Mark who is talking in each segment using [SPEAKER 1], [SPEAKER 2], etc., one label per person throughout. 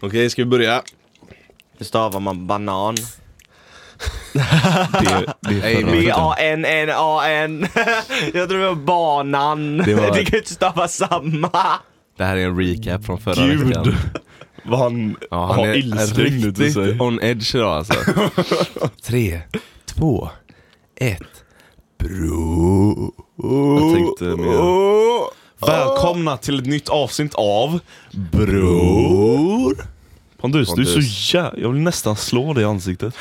[SPEAKER 1] Okej, ska vi börja?
[SPEAKER 2] Hur stavar man banan?
[SPEAKER 3] Det, det är förra veckan.
[SPEAKER 2] B-A-N-N-A-N. Jag tror det var banan.
[SPEAKER 3] Det
[SPEAKER 2] Det,
[SPEAKER 3] var-
[SPEAKER 2] kan ju inte stava samma.
[SPEAKER 3] Det här är en recap från förra
[SPEAKER 1] Gud.
[SPEAKER 3] veckan.
[SPEAKER 1] Vad han
[SPEAKER 3] Ja, han
[SPEAKER 1] har
[SPEAKER 3] är
[SPEAKER 1] ilsken inuti
[SPEAKER 3] riktigt
[SPEAKER 1] sig.
[SPEAKER 3] on edge idag alltså. Tre, två, ett, bro.
[SPEAKER 1] Jag tänkte mer.
[SPEAKER 2] Oh.
[SPEAKER 1] Välkomna till ett nytt avsnitt av Bror. Pondus, du är så jä... Jag vill nästan slå dig i ansiktet.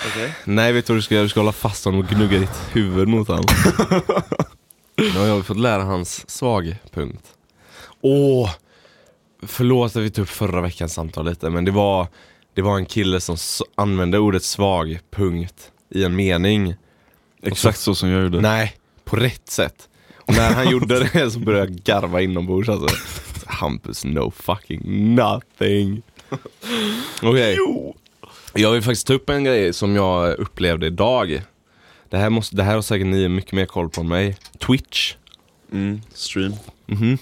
[SPEAKER 3] Nej, vet du vad du ska göra? Du ska hålla fast honom och gnugga ditt huvud mot honom. Nu har jag fått lära hans svagpunkt. Åh! Förlåt att vi tog upp förra veckans samtal lite, men det var, det var en kille som s- använde ordet svagpunkt i en mening.
[SPEAKER 1] Exakt så som jag gjorde.
[SPEAKER 3] Nej, på rätt sätt. Och när han gjorde det så började jag garva inombords alltså. Hampus, no fucking nothing. Okej. Jag vill faktiskt ta upp en grej som jag upplevde idag. Det här, måste, det här har säkert ni mycket mer koll på än mig. Twitch.
[SPEAKER 1] Mm, stream.
[SPEAKER 3] Mhm.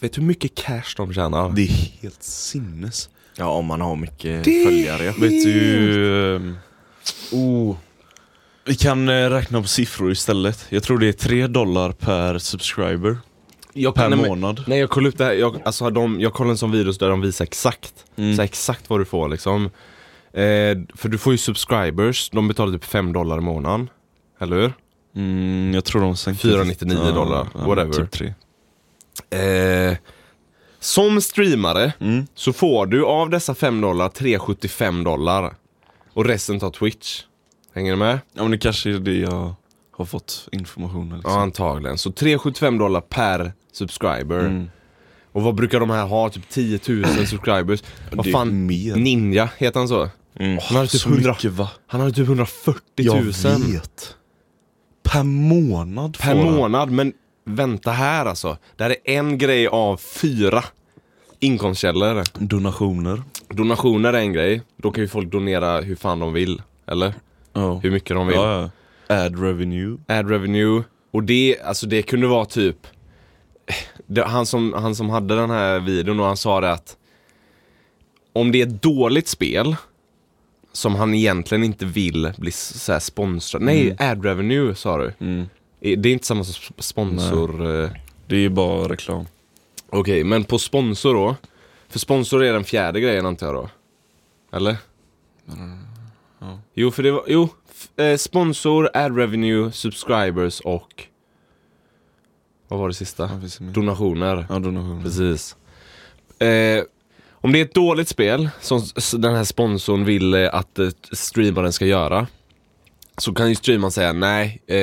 [SPEAKER 3] Vet du hur mycket cash de tjänar?
[SPEAKER 1] Det är helt sinnes.
[SPEAKER 2] Ja, om man har mycket följare.
[SPEAKER 1] Vet du... ehm, Oh. Vi kan eh, räkna på siffror istället. Jag tror det är 3 dollar per subscriber.
[SPEAKER 3] jag,
[SPEAKER 1] Per
[SPEAKER 3] nej, men-
[SPEAKER 1] månad.
[SPEAKER 3] Nej jag kollade upp det här, jag, alltså, de, jag kollade en sån video där de visar exakt.
[SPEAKER 1] Mm.
[SPEAKER 3] Så här, exakt vad du får liksom. Eh, för du får ju subscribers, de betalar typ 5 dollar i månaden. Eller hur?
[SPEAKER 1] Mm, jag tror de sänkte
[SPEAKER 3] 4,99
[SPEAKER 1] Ja,
[SPEAKER 3] dollar,
[SPEAKER 1] ja,
[SPEAKER 3] whatever.
[SPEAKER 1] Typ 3.
[SPEAKER 3] Eh, som streamare
[SPEAKER 1] Mm.
[SPEAKER 3] så får du av dessa 5 dollar 3,75 dollar. Och resten tar Twitch. Hänger du med?
[SPEAKER 1] Ja men det kanske är det jag har fått informationen
[SPEAKER 3] Ja,
[SPEAKER 1] liksom.
[SPEAKER 3] antagligen. Så 3,75 dollar per subscriber.
[SPEAKER 1] Mm.
[SPEAKER 3] Och vad brukar de här ha? Typ 10 000 subscribers. Vad
[SPEAKER 1] Det är
[SPEAKER 3] fan?
[SPEAKER 1] mer.
[SPEAKER 3] Ninja, heter han så?
[SPEAKER 1] Mm.
[SPEAKER 3] Han hade typ,
[SPEAKER 1] Så
[SPEAKER 3] 100,
[SPEAKER 1] mycket va?
[SPEAKER 3] han hade typ 140 000
[SPEAKER 1] vet. Per månad
[SPEAKER 3] per
[SPEAKER 1] får han.
[SPEAKER 3] månad. Men vänta här alltså. Det här är en grej av fyra inkomstkällor.
[SPEAKER 1] Donationer.
[SPEAKER 3] Donationer är en grej. Då kan ju folk donera hur fan de vill. Eller?
[SPEAKER 1] Ja.
[SPEAKER 3] Hur mycket de vill.
[SPEAKER 1] Ja, ja. Ad revenue.
[SPEAKER 3] Ad revenue. Och det, alltså det kunde vara typ det, han, som, han som hade den här videon och han sa det att om det är ett dåligt spel som han egentligen inte vill bli s- så här sponsrad. Nej, ad revenue sa du.
[SPEAKER 1] Mm.
[SPEAKER 3] I- Det är inte samma som sp- sponsor. eh,
[SPEAKER 1] Det är bara reklam.
[SPEAKER 3] Okej, men på sponsor då? För sponsor är den fjärde grejen antar jag då? Eller?
[SPEAKER 1] ja.
[SPEAKER 3] Jo, för det var, jo. f- Eh, sponsor, ad revenue, subscribers och... Vad var det sista?
[SPEAKER 1] Ja, finns det mer?
[SPEAKER 3] Donationer.
[SPEAKER 1] ja donationer.
[SPEAKER 3] Precis. Eh, om det är ett dåligt spel som s- den här sponsorn vill eh, att eh, streamaren ska göra. Så kan ju streamaren säga nej, eh,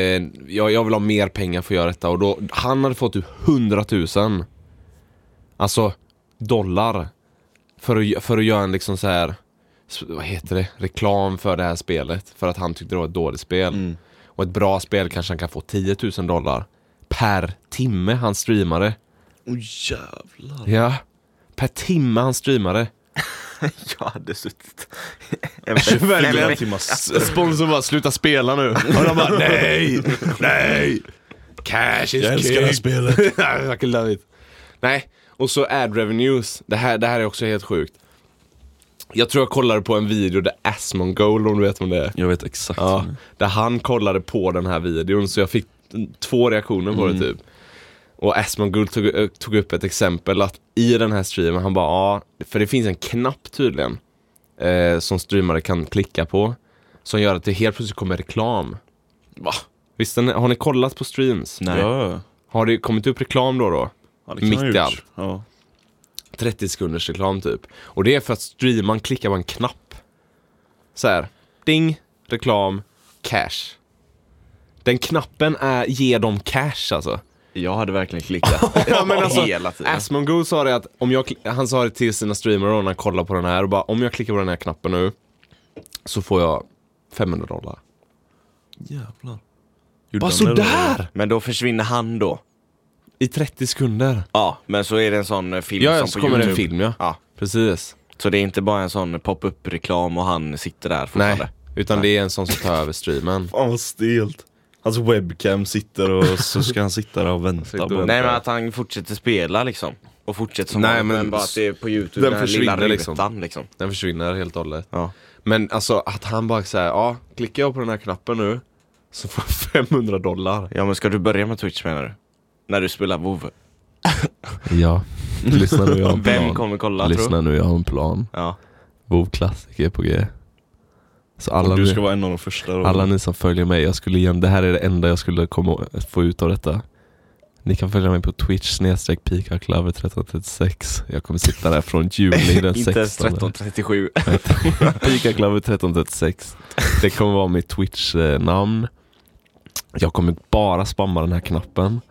[SPEAKER 3] jag, jag vill ha mer pengar för att göra detta. Och då, han hade fått typ 100 000. Alltså dollar. För att, gö- för att göra en liksom så här s- vad heter det, reklam för det här spelet. För att han tyckte det var ett dåligt spel.
[SPEAKER 1] Mm.
[SPEAKER 3] Och ett bra spel kanske han kan få 10 000 dollar per timme han streamade.
[SPEAKER 1] Åh jävlar.
[SPEAKER 3] Ja. Per timme han streamade.
[SPEAKER 2] Oh. Jag hade suttit...
[SPEAKER 1] Verkligen.
[SPEAKER 3] Sponsorn bara, sluta spela nu. Och de bara, nej, nej. Cash is
[SPEAKER 1] Jag älskar det här spelet.
[SPEAKER 3] I fucking love it. Nej, och så ad revenues. Det här, det här är också helt sjukt. Jag tror jag kollade på en video där Asmongold, om du vet vem det är.
[SPEAKER 1] Jag vet exakt.
[SPEAKER 3] Ja,
[SPEAKER 1] vad det är.
[SPEAKER 3] där han kollade på den här videon så jag fick två reaktioner på det typ. Och Asmongold tog, ö, tog upp ett exempel att i den här streamen, han bara ja, för det finns en knapp tydligen eh, som streamare kan klicka på som gör att det helt plötsligt kommer reklam. Va? Visst, har ni- har ni kollat på streams?
[SPEAKER 2] Nej.
[SPEAKER 1] Ja,
[SPEAKER 3] Har det kommit upp reklam då då?
[SPEAKER 1] ja. det kan
[SPEAKER 3] Mitt
[SPEAKER 1] jag ha
[SPEAKER 3] i
[SPEAKER 1] gjort.
[SPEAKER 3] allt.
[SPEAKER 1] Ja.
[SPEAKER 3] 30 sekunders reklam typ. Och det är för att streamaren klickar på en knapp. Så här, ding, reklam, cash. Den knappen är, ger dem cash alltså.
[SPEAKER 2] Jag hade verkligen klickat.
[SPEAKER 3] Ja, men alltså,
[SPEAKER 2] Hela tiden.
[SPEAKER 3] Asmongold sa det att, om jag, klick- han sa det till sina streamare när han kollade på den här och bara om jag klickar på den här knappen nu så får jag 500 dollar.
[SPEAKER 1] Jävlar.
[SPEAKER 3] Bara sådär!
[SPEAKER 2] Men då försvinner han då.
[SPEAKER 3] I 30 sekunder.
[SPEAKER 2] Ja, men så är det en sån eh, film
[SPEAKER 3] Ja,
[SPEAKER 2] som
[SPEAKER 3] så
[SPEAKER 2] på
[SPEAKER 3] kommer det en
[SPEAKER 2] YouTube.
[SPEAKER 3] film ja.
[SPEAKER 2] Ja,
[SPEAKER 3] Precis.
[SPEAKER 2] så det är inte bara en sån pop-up reklam och han sitter där
[SPEAKER 3] Nej,
[SPEAKER 2] fortfarande.
[SPEAKER 3] utan det är en sån som tar över streamen.
[SPEAKER 1] Fan vad stelt. Hans webcam sitter och så ska han sitta där och vänta.
[SPEAKER 3] Sitter och
[SPEAKER 1] bara.
[SPEAKER 3] väntar.
[SPEAKER 2] Nej men att han fortsätter spela liksom. och fortsätter som
[SPEAKER 3] Nej,
[SPEAKER 2] vanligt,
[SPEAKER 3] men
[SPEAKER 2] men bara att det är på youtube,
[SPEAKER 3] den
[SPEAKER 2] den, här lilla
[SPEAKER 3] försvinner liksom.
[SPEAKER 2] rutan liksom.
[SPEAKER 3] Den försvinner helt och hållet.
[SPEAKER 2] Ja.
[SPEAKER 3] Men alltså att han bara säger ja, klickar jag på den här knappen nu så får jag 500 dollar.
[SPEAKER 2] ja men ska du börja med Twitch menar du? När du spelar WoW?
[SPEAKER 4] Ja, lyssna nu jag har en plan.
[SPEAKER 2] Vem kommer kolla tror du?
[SPEAKER 4] lyssna nu jag har en plan.
[SPEAKER 2] Ja.
[SPEAKER 4] WoW Classic är på G. Så alla
[SPEAKER 1] Och du
[SPEAKER 4] ni,
[SPEAKER 1] ska vara en av de första då.
[SPEAKER 4] alla ni som följer mig, jag skulle igen, det här är det enda jag skulle komma, få ut av detta. Ni kan följa mig på Twitch snedstreck pikaklover 1336. Jag kommer sitta där från juni den 16.
[SPEAKER 2] Inte ens 1337.
[SPEAKER 4] Pikaklover 1336. Det kommer vara mitt Twitch-namn. Jag kommer bara spamma den här knappen.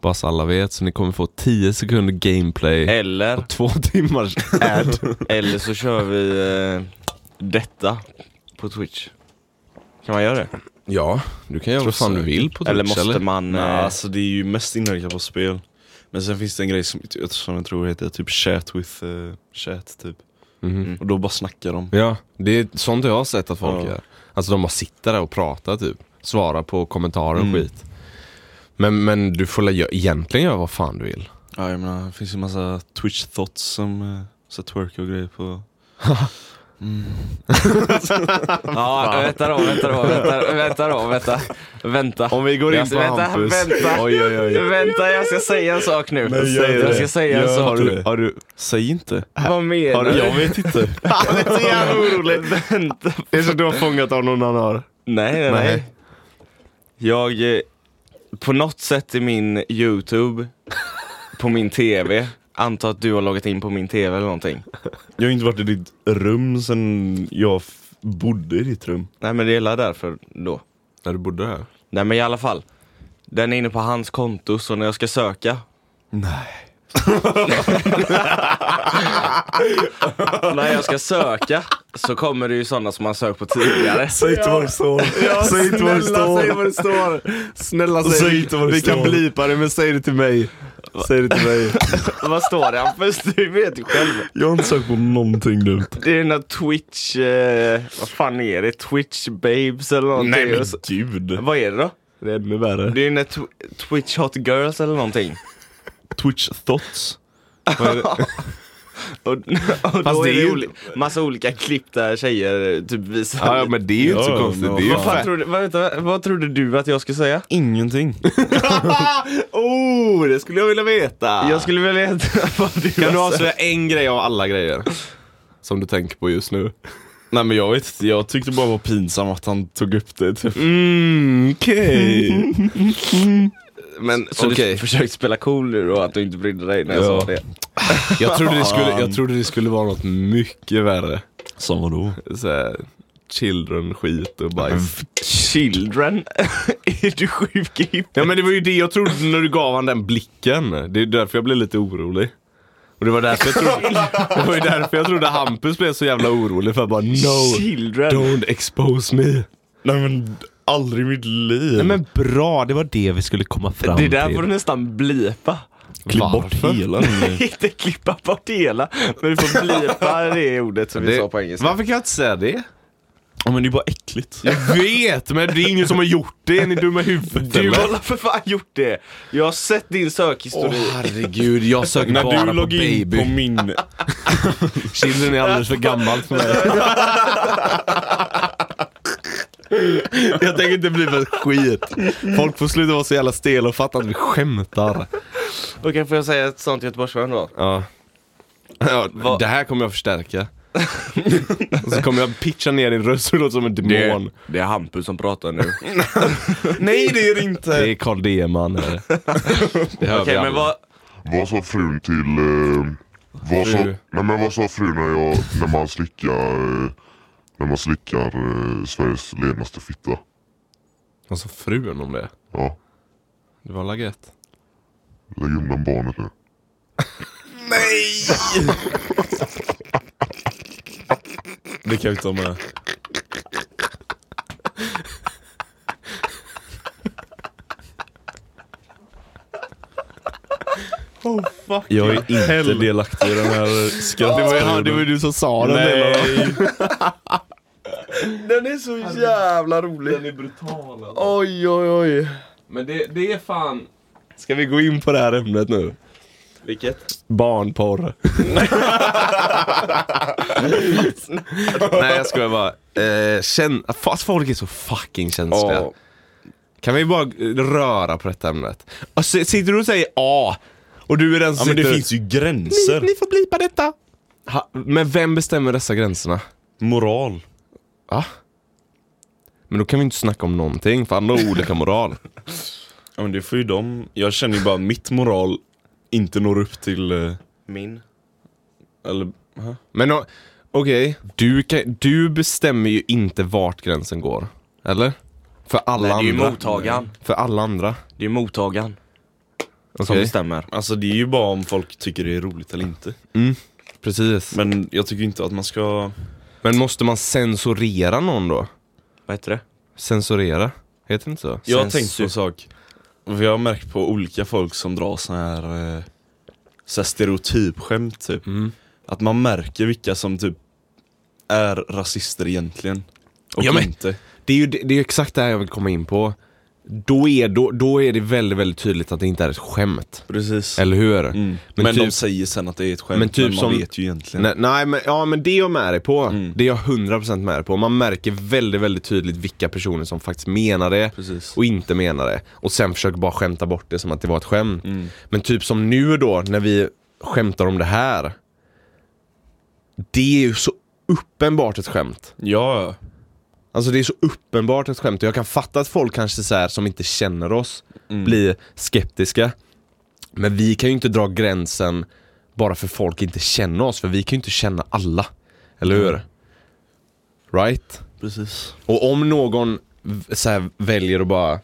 [SPEAKER 4] Bara så alla vet. Så ni kommer få 10 sekunder gameplay.
[SPEAKER 2] Eller,
[SPEAKER 4] Två timmars ad.
[SPEAKER 2] eller så kör vi eh, detta på Twitch. Kan man göra det?
[SPEAKER 3] Ja, du kan göra vad fan du vill på Twitch
[SPEAKER 2] eller måste man...
[SPEAKER 1] Nej,
[SPEAKER 2] eh,
[SPEAKER 1] alltså det är ju mest inriktat på spel. Men sen finns det en grej som, som jag tror heter typ chat with eh, chat typ.
[SPEAKER 3] Mhm.
[SPEAKER 1] Och då bara snackar de.
[SPEAKER 3] Ja, det är sånt jag har sett att folk
[SPEAKER 1] Ja.
[SPEAKER 3] gör. Alltså de bara sitter där och pratar typ. Svarar på kommentarer och
[SPEAKER 4] Mm.
[SPEAKER 3] skit. Men, men du får lä- egentligen göra vad fan du vill.
[SPEAKER 1] Ja, jag menar, det finns ju massa twitch thoughts som eh, så twerk och grejer på. Mm.
[SPEAKER 2] Ja, vänta då, vänta då, vänta, vänta då, vänta. Vänta.
[SPEAKER 3] Om vi går in på
[SPEAKER 2] vänta,
[SPEAKER 3] Hampus.
[SPEAKER 2] Vänta,
[SPEAKER 3] Oj, oj, oj.
[SPEAKER 2] vänta, jag ska säga en sak nu.
[SPEAKER 1] Nej, gör
[SPEAKER 2] jag
[SPEAKER 1] det.
[SPEAKER 2] ska säga en
[SPEAKER 1] Gör
[SPEAKER 2] sak
[SPEAKER 1] det.
[SPEAKER 2] nu.
[SPEAKER 1] Har du... Säg inte.
[SPEAKER 2] Vad menar
[SPEAKER 1] Har du... Jag vet inte.
[SPEAKER 2] Han är så jävla orolig. Vänta.
[SPEAKER 3] Det är så du har fångat av någon annan har.
[SPEAKER 2] Nej, nej, nej.
[SPEAKER 3] Nej.
[SPEAKER 2] Jag, eh, på något sätt i min YouTube, på min TV, antar att du har loggat in på min TV eller någonting.
[SPEAKER 1] Jag har inte varit i ditt rum sen jag f- bodde i ditt rum.
[SPEAKER 2] Nej men det är väl därför då.
[SPEAKER 3] När du bodde här.
[SPEAKER 2] Nej men i alla fall. Den är inne på hans konto så när jag ska söka
[SPEAKER 1] Nej.
[SPEAKER 2] När jag ska söka så kommer det ju sådana som man sökt på tidigare.
[SPEAKER 1] Säg inte vad det står. Säg inte vad det står.
[SPEAKER 3] det står. Snälla
[SPEAKER 1] Säg
[SPEAKER 4] Alltså,
[SPEAKER 1] inte vad det
[SPEAKER 3] Vi kan
[SPEAKER 1] står.
[SPEAKER 3] blipa Alltså, det men säg det till mig. Säg det till mig.
[SPEAKER 2] Vad står det Hampus? Du vet ju själv.
[SPEAKER 1] Jag har inte sökt på någonting dumt.
[SPEAKER 2] Det är den där Twitch... Eh, vad fan är det? Twitch babes eller någonting.
[SPEAKER 1] Nej men
[SPEAKER 2] Och så-
[SPEAKER 1] gud.
[SPEAKER 2] Vad är det då?
[SPEAKER 3] Det är ännu värre.
[SPEAKER 2] Det är den där tw- Twitch hot girls eller någonting.
[SPEAKER 1] Twitch thoughts.
[SPEAKER 2] Och, och då
[SPEAKER 3] det
[SPEAKER 2] är
[SPEAKER 3] är
[SPEAKER 2] det
[SPEAKER 3] ju-
[SPEAKER 2] oli- massa olika klipp där tjejer eh, typ visar.
[SPEAKER 3] Ja, ja, men det är ju inte
[SPEAKER 1] Ja,
[SPEAKER 3] så konstigt.
[SPEAKER 1] men
[SPEAKER 3] Det är ju
[SPEAKER 1] vad
[SPEAKER 2] Vad
[SPEAKER 3] fett.
[SPEAKER 2] trodde, vad, vänta, vad trodde du att jag skulle säga?
[SPEAKER 1] Ingenting.
[SPEAKER 3] Oh, det skulle jag vilja veta.
[SPEAKER 2] Jag skulle vilja veta vad du
[SPEAKER 3] Ah. Kan du
[SPEAKER 2] har sagt.
[SPEAKER 3] avslöja en grej av alla grejer? Som du tänker på just nu?
[SPEAKER 1] Nej men jag vet inte, jag tyckte bara det var pinsamt att han tog upp det typ.
[SPEAKER 3] Mm, okej. Men
[SPEAKER 2] Så
[SPEAKER 3] okej,
[SPEAKER 2] du försökte spela cool nu då, att du inte brydde dig när jag
[SPEAKER 3] Ja.
[SPEAKER 2] sa det?
[SPEAKER 3] jag, trodde det skulle- jag trodde det skulle vara något mycket värre.
[SPEAKER 1] Som vadå?
[SPEAKER 3] Så här, children-skit och bajs.
[SPEAKER 2] Children? är du sjuk i huvudet?
[SPEAKER 3] Ja men det var ju det jag trodde när du gav han den blicken. Det är därför jag blev lite orolig. Och det var därför jag trodde, det var ju därför jag trodde Hampus blev så jävla orolig för bara no,
[SPEAKER 2] Children?
[SPEAKER 3] don't expose me.
[SPEAKER 1] Nej men aldrig i mitt liv.
[SPEAKER 4] Nej men bra, det var det vi skulle komma fram
[SPEAKER 2] Det där
[SPEAKER 4] till.
[SPEAKER 2] får du nästan blipa.
[SPEAKER 1] Klipp bort
[SPEAKER 4] Varför?
[SPEAKER 1] hela den grejen.
[SPEAKER 2] Inte klippa bort hela, men du får blipa det ordet som vi sa på engelska.
[SPEAKER 3] Varför kan jag inte säga det?
[SPEAKER 1] Ja men det är bara äckligt.
[SPEAKER 3] Jag vet, men det är ingen som har gjort det. Är ni dumma i huvudet
[SPEAKER 2] Du
[SPEAKER 3] eller?
[SPEAKER 2] har för fan gjort det! Jag har sett din
[SPEAKER 3] Åh
[SPEAKER 2] sökhistorik.
[SPEAKER 3] herregud, jag söker
[SPEAKER 1] När
[SPEAKER 3] bara
[SPEAKER 1] du
[SPEAKER 3] på
[SPEAKER 1] loggade in
[SPEAKER 3] baby.
[SPEAKER 1] på min...
[SPEAKER 3] Children är alldeles för gammalt för mig. jag tänker inte bli för skit. Folk får sluta vara så jävla stela och fatta att vi skämtar.
[SPEAKER 2] Okej, får jag säga ett sånt göteborgsvarv då?
[SPEAKER 3] Ja. Ja, det här kommer jag förstärka. och så kommer jag pitcha ner din röst så du låter som en demon.
[SPEAKER 2] det är Hampus som pratar nu. Okej,
[SPEAKER 1] Nej det är det inte!
[SPEAKER 3] Det är Carl Deman. här. Det hör vi alla.
[SPEAKER 2] men vad...
[SPEAKER 5] Vad sa frun till... Eh, vad, sa,
[SPEAKER 3] Fru.
[SPEAKER 5] nej men vad sa frun när, jag, när man slickar... Eh, när man slickar eh, Sveriges ledaste fitta?
[SPEAKER 3] Vad sa frun om det?
[SPEAKER 5] Ja,
[SPEAKER 3] Det var la gött.
[SPEAKER 5] lägg undan barnet nu.
[SPEAKER 1] Det kan vi ta med. Oh, fuck jag är inte delaktig i den här skratt.
[SPEAKER 3] Det var ju han- det var ju du som sa den delen.
[SPEAKER 1] Nej.
[SPEAKER 2] Den är så jävla rolig! Den är brutal Oj, oj, oj.
[SPEAKER 3] Men det, det är fan... Ska vi gå in på det här ämnet nu?
[SPEAKER 2] Vilket?
[SPEAKER 3] Barnporr. Nej jag skojar bara. Eh, känn, fast folk är så fucking känsliga.
[SPEAKER 2] Ja.
[SPEAKER 3] Kan vi bara eh, röra på detta ämnet? Och så, sitter du och säger A och du är den
[SPEAKER 1] Ja
[SPEAKER 3] som
[SPEAKER 1] men det
[SPEAKER 3] sitter...
[SPEAKER 1] finns ju gränser.
[SPEAKER 3] ni, ni får blipa detta. Ha, men vem bestämmer dessa gränserna?
[SPEAKER 1] Moral.
[SPEAKER 3] Va? Men då kan vi inte snacka om någonting, för alla har olika moral.
[SPEAKER 1] Ja men det får ju de. Jag känner ju bara att mitt moral inte når upp till... eh,
[SPEAKER 2] Min.
[SPEAKER 1] Eller...
[SPEAKER 3] Men o- okej, du, kan- du bestämmer ju inte vart gränsen går. Eller? För alla
[SPEAKER 2] Nej, det är ju
[SPEAKER 3] andra.
[SPEAKER 2] mottagaren.
[SPEAKER 3] För alla andra.
[SPEAKER 2] Det är mottagaren som
[SPEAKER 3] Okej,
[SPEAKER 2] bestämmer.
[SPEAKER 1] Alltså det är ju bara om folk tycker det är roligt eller inte.
[SPEAKER 3] precis. Men,
[SPEAKER 1] Men jag tycker inte att man ska...
[SPEAKER 3] måste man censurera någon då?
[SPEAKER 2] Vad heter det?
[SPEAKER 3] Censurera? Heter det inte så?
[SPEAKER 1] Jag har
[SPEAKER 2] Censur.
[SPEAKER 1] tänkt på en sak. Vi har märkt på olika folk som drar såna här, eh, så här stereotypskämt typ. Att man märker vilka som typ är rasister egentligen. Och
[SPEAKER 3] Ja, men-
[SPEAKER 1] inte.
[SPEAKER 3] Det är ju det, det är ju exakt det här jag vill komma in på. Då är, då, då är det väldigt, väldigt tydligt att det inte är ett skämt.
[SPEAKER 1] Precis.
[SPEAKER 3] Eller hur?
[SPEAKER 1] Mm. Men,
[SPEAKER 3] Men
[SPEAKER 1] de
[SPEAKER 3] typ-
[SPEAKER 1] säger sen att det är ett skämt, men,
[SPEAKER 3] men typ
[SPEAKER 1] man
[SPEAKER 3] som-
[SPEAKER 1] vet ju egentligen.
[SPEAKER 3] Nej, nej men, ja, men det är jag med dig på. Det är jag 100% med dig på. Man märker väldigt, väldigt tydligt vilka personer som faktiskt menar det
[SPEAKER 1] Precis.
[SPEAKER 3] och inte menar det. Och sen försöker bara skämta bort det som att det var ett skämt. Men typ som nu då, när vi skämtar om det här. Det är ju så uppenbart ett skämt.
[SPEAKER 1] Ja,
[SPEAKER 3] Alltså det är så uppenbart ett skämt. Och jag kan fatta att folk kanske så här, som inte känner oss blir skeptiska. Men vi kan ju inte dra gränsen bara för folk inte känner oss. För vi kan ju inte känna alla. Eller hur? Right?
[SPEAKER 1] precis.
[SPEAKER 3] Och om någon v- så här, väljer att bara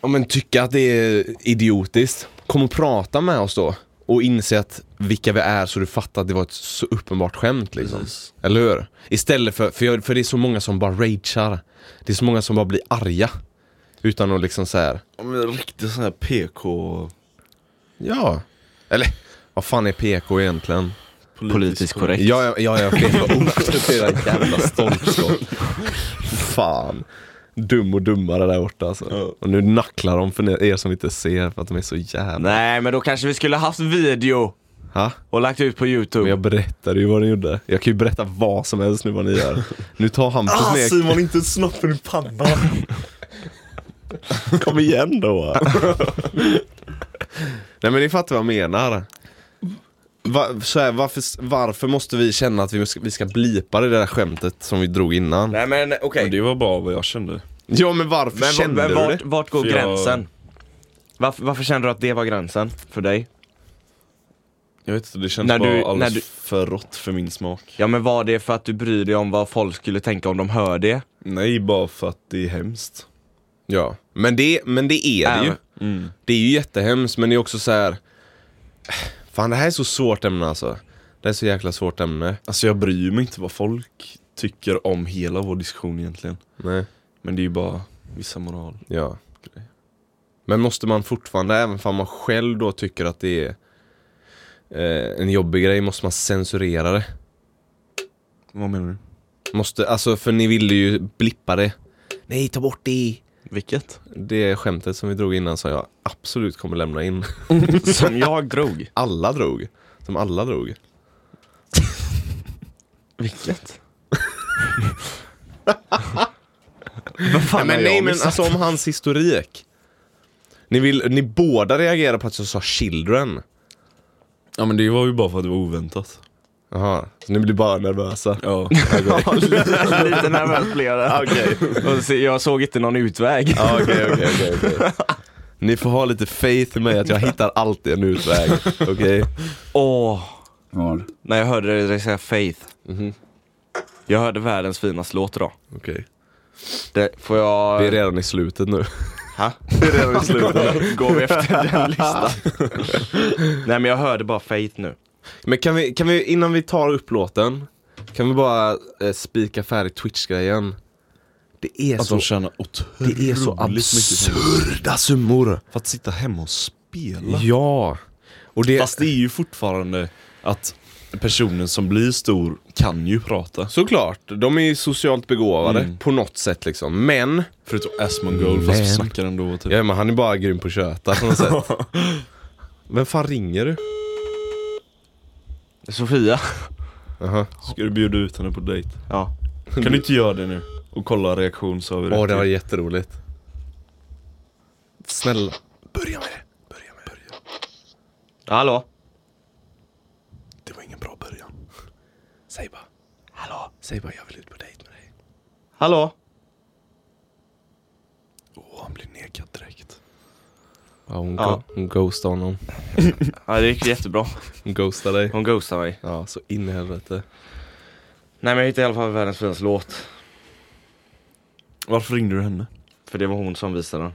[SPEAKER 3] ja, men, tycka att det är idiotiskt, kom och prata med oss då. Och inse att vilka vi är så du fattar att det var ett så uppenbart skämt liksom.
[SPEAKER 1] Precis.
[SPEAKER 3] Eller hur? Istället för, för, jag, för det är så många som bara ragear. Det är så många som bara blir arga. Utan att liksom så här.
[SPEAKER 1] Ja, men Riktigt sån här PK...
[SPEAKER 3] ja. Eller vad fan är PK egentligen?
[SPEAKER 2] Politiskt korrekt.
[SPEAKER 3] Ja, ja, ja, ja fel på ordet. Det är en jävla stolpskott. Fan. Dum och dummare där borta alltså.
[SPEAKER 1] Ja.
[SPEAKER 3] Och nu nacklar de för er som inte ser för att de är så jävla...
[SPEAKER 2] Nej men då kanske vi skulle haft video
[SPEAKER 3] Ha?
[SPEAKER 2] och lagt ut på youtube.
[SPEAKER 3] Men jag berättade ju vad ni gjorde. Jag kan ju berätta vad som helst nu vad ni gör. Nu tar Hampus
[SPEAKER 1] Ah,
[SPEAKER 3] ner...
[SPEAKER 1] Simon, inte snoppen i pannan! Kom igen då!
[SPEAKER 3] Nej men ni fattar vad jag menar. Va, så här, varför, varför måste vi känna att vi ska, vi ska blipa det där skämtet som vi drog innan?
[SPEAKER 2] Nej men okej.
[SPEAKER 1] Men det var bara vad jag kände.
[SPEAKER 3] Ja men varför
[SPEAKER 2] Men,
[SPEAKER 3] kände
[SPEAKER 2] men
[SPEAKER 3] du
[SPEAKER 2] vart,
[SPEAKER 3] det?
[SPEAKER 2] vart går
[SPEAKER 1] För jag-
[SPEAKER 2] gränsen? Varför, varför kände du att det var gränsen för dig?
[SPEAKER 1] Jag vet inte, det känns
[SPEAKER 2] När
[SPEAKER 1] bara
[SPEAKER 2] du-
[SPEAKER 1] alldeles
[SPEAKER 2] när du-
[SPEAKER 1] för rått för min smak.
[SPEAKER 2] Ja men var det för att du bryr dig om vad folk skulle tänka om de hör det?
[SPEAKER 1] Nej, bara för att det är hemskt.
[SPEAKER 3] Ja, men det, men det är det
[SPEAKER 2] Äh.
[SPEAKER 3] ju. Det är ju jättehemskt men det är också så här. Fan det här är så svårt ämne alltså. Det är så jäkla svårt ämne.
[SPEAKER 1] Alltså jag bryr mig inte vad folk tycker om hela vår diskussion egentligen.
[SPEAKER 3] Nej.
[SPEAKER 1] Men det är ju bara vissa moral.
[SPEAKER 3] Ja. Men måste man fortfarande, även om man själv då tycker att det är eh, en jobbig grej, måste man censurera det?
[SPEAKER 1] Vad menar du?
[SPEAKER 3] Måste, alltså för ni ville ju blippa det. Nej, ta bort det.
[SPEAKER 1] Vilket?
[SPEAKER 3] Det skämtet som vi drog innan som jag absolut kommer lämna in.
[SPEAKER 2] Som jag drog.
[SPEAKER 3] Alla drog. Som alla drog.
[SPEAKER 2] Vilket? vad fan
[SPEAKER 3] nej,
[SPEAKER 2] har
[SPEAKER 3] men,
[SPEAKER 2] jag
[SPEAKER 3] nej, men
[SPEAKER 2] missat?
[SPEAKER 3] alltså om hans historik. Ni, vill, ni båda reagerar på att jag sa children.
[SPEAKER 1] Ja men det var ju bara för att det var oväntat.
[SPEAKER 3] Jaha, så ni blir bara nervösa.
[SPEAKER 1] Ja.
[SPEAKER 2] Lite nervös blev jag. Och så- Jag såg inte någon utväg.
[SPEAKER 3] Ja, Okej, okej, okej, okej. Ni får ha lite faith i mig att jag hittar alltid en utväg. Okej?
[SPEAKER 2] Åh. När jag hörde dig säga Faith. Jag hörde världens finaste låt idag.
[SPEAKER 3] Okej.
[SPEAKER 2] Det, får jag...
[SPEAKER 3] Vi är redan i slutet nu.
[SPEAKER 2] Ha? Det är redan i slutet. Går vi efter den listan? Nej men jag hörde bara Faith nu.
[SPEAKER 3] Men kan vi, kan vi innan vi tar upp låten, kan vi bara eh, spika färdigt Twitch-grejen? Det är
[SPEAKER 1] Att
[SPEAKER 3] så,
[SPEAKER 1] de tjänar otroligt
[SPEAKER 3] det är så
[SPEAKER 1] Alltså, mycket pengar.
[SPEAKER 3] absurda summor.
[SPEAKER 1] För att sitta hemma och spela.
[SPEAKER 3] Ja. Och det,
[SPEAKER 1] Fast det är ju fortfarande att personen som blir stor kan ju prata.
[SPEAKER 3] Såklart, de är ju socialt begåvade
[SPEAKER 1] Mm.
[SPEAKER 3] på något sätt liksom. Men,
[SPEAKER 1] Förutom Asmongold fast vi
[SPEAKER 3] Men-
[SPEAKER 1] snackar ändå typ.
[SPEAKER 3] ja, men han är bara grym på att köta på något sätt. Vem fan ringer du?
[SPEAKER 2] Sofia.
[SPEAKER 3] Jaha.
[SPEAKER 1] Ska du bjuda ut henne på dejt?
[SPEAKER 2] Ja.
[SPEAKER 1] Kan du inte göra det nu? Och kolla reaktion så har vi
[SPEAKER 3] Åh,
[SPEAKER 1] rätt
[SPEAKER 3] det var
[SPEAKER 1] till.
[SPEAKER 3] jätteroligt. Snälla.
[SPEAKER 1] Börja med det. Börja med det.
[SPEAKER 2] Hallå?
[SPEAKER 1] Det var ingen bra början. Säg bara. Hallå? Säg bara jag vill ut på dejt med dig.
[SPEAKER 2] Hallå?
[SPEAKER 1] Åh, han blir nekad direkt.
[SPEAKER 3] Ja, hon,
[SPEAKER 2] Ja.
[SPEAKER 3] go- hon ghostade honom.
[SPEAKER 2] Ja, det gick jättebra.
[SPEAKER 3] Hon ghostade dig.
[SPEAKER 2] Hon ghostade mig.
[SPEAKER 3] Ja, så in i helvete.
[SPEAKER 2] Nej men jag hittade i alla fall världens finaste låt.
[SPEAKER 1] Varför ringde du henne?
[SPEAKER 2] För det var hon som visade den.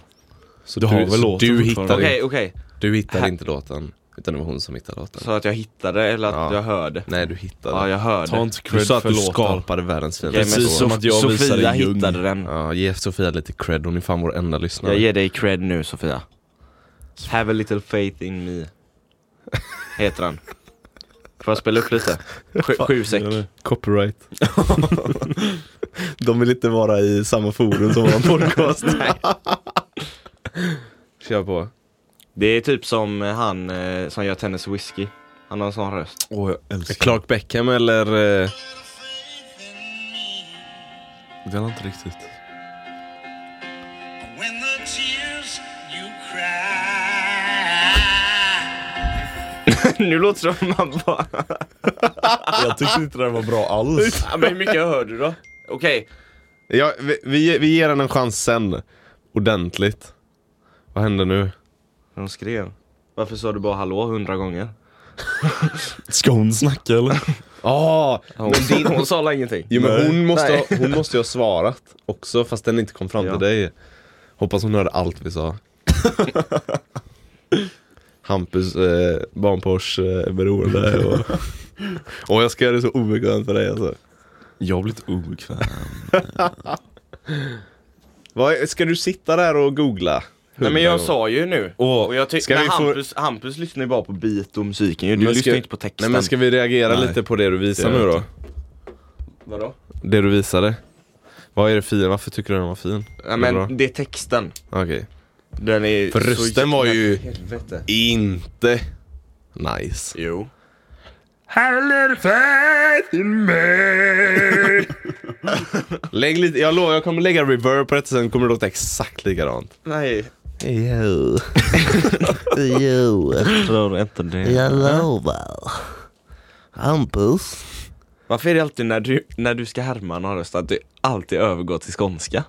[SPEAKER 3] Så
[SPEAKER 1] Du har väl
[SPEAKER 3] så
[SPEAKER 1] låten
[SPEAKER 3] du
[SPEAKER 1] fortfarande?
[SPEAKER 3] hittade,
[SPEAKER 2] Okej, okej.
[SPEAKER 3] du hittade inte låten, utan det var hon som hittade låten.
[SPEAKER 2] Så att jag hittade eller att
[SPEAKER 3] Ja.
[SPEAKER 2] jag hörde?
[SPEAKER 3] Nej, du hittade.
[SPEAKER 2] Ja, jag hörde.
[SPEAKER 1] Ta inte
[SPEAKER 3] du
[SPEAKER 1] cred
[SPEAKER 3] sa att
[SPEAKER 1] för
[SPEAKER 3] du
[SPEAKER 1] låten.
[SPEAKER 3] skapade världens finaste
[SPEAKER 2] Okej, men
[SPEAKER 1] Precis
[SPEAKER 3] låt.
[SPEAKER 1] som att jag
[SPEAKER 2] Sofia
[SPEAKER 1] visade Jung.
[SPEAKER 2] hittade den.
[SPEAKER 3] Ja, ge Sofia lite cred, hon är fan vår enda lyssnare.
[SPEAKER 2] Jag ger dig cred nu Sofia. Have a little faith in me. Heter den. Får jag spela upp lite? Sju, sju säck.
[SPEAKER 3] Copyright. De vill inte vara i samma forum som våran podcast. Kör på.
[SPEAKER 2] Det är typ som eh, han eh, som gör Tennis Whiskey. Han har en sån röst.
[SPEAKER 1] Åh, jag älskar
[SPEAKER 3] Clark Beckham eller... eh,
[SPEAKER 1] Det är inte riktigt.
[SPEAKER 6] When the tears you cry.
[SPEAKER 2] nu låter det som man bara...
[SPEAKER 1] Jag tyckte inte det var bra alls.
[SPEAKER 2] Men hur mycket hör du då? Okej,
[SPEAKER 3] Ja, vi, vi, vi ger henne en chans sen. Ordentligt. Vad händer nu?
[SPEAKER 2] de skrev. Varför sa du bara hallå hundra gånger?
[SPEAKER 1] Ska hon snacka eller?
[SPEAKER 3] Ah,
[SPEAKER 2] Hon, din... hon sa la ingenting.
[SPEAKER 3] jo, men
[SPEAKER 1] Nej.
[SPEAKER 3] hon, måste
[SPEAKER 2] Nej.
[SPEAKER 3] ha, hon måste ju ha svarat också fast den inte kom fram
[SPEAKER 2] Ja.
[SPEAKER 3] till dig. Hoppas hon hörde allt vi sa. Hampus eh, barnpors-beroende. Eh, och, och jag ska göra det så obekvämt för dig alltså.
[SPEAKER 1] Jag har blivit obekväm.
[SPEAKER 3] Vad, ska du sitta där och googla?
[SPEAKER 2] Nej men jag
[SPEAKER 3] Hundra
[SPEAKER 2] sa ju nu.
[SPEAKER 3] Åh,
[SPEAKER 2] och jag tycker,
[SPEAKER 3] ska vi få-
[SPEAKER 2] Hampus, Hampus lyssnar ju bara på beat och musiken ju. Du
[SPEAKER 3] Men
[SPEAKER 2] lyssnar
[SPEAKER 3] ska-
[SPEAKER 2] ju inte på texten.
[SPEAKER 3] Nej men ska vi reagera
[SPEAKER 1] Nej.
[SPEAKER 3] lite på det du visar
[SPEAKER 1] Det
[SPEAKER 3] nu
[SPEAKER 1] gör jag
[SPEAKER 3] då?
[SPEAKER 2] Vadå?
[SPEAKER 3] Det du visade. Vad är det fin? Varför tycker du den var fin?
[SPEAKER 2] Nej
[SPEAKER 3] Är det bra?
[SPEAKER 2] men det är texten.
[SPEAKER 3] Okej.
[SPEAKER 2] Den är
[SPEAKER 3] För
[SPEAKER 2] så
[SPEAKER 3] rösten var
[SPEAKER 2] jävla-
[SPEAKER 3] ju-
[SPEAKER 2] Helvete.
[SPEAKER 3] Inte nice.
[SPEAKER 2] Jo.
[SPEAKER 3] Lägg lite, jag lovar, jag kommer lägga reverb på detta sen kommer det låta exakt likadant.
[SPEAKER 2] Nej.
[SPEAKER 3] Jo.
[SPEAKER 2] Tror inte det.
[SPEAKER 7] Jag lovar. Hampus.
[SPEAKER 2] Varför är det alltid när du, när du ska härma någon röst att du alltid övergår till skånska?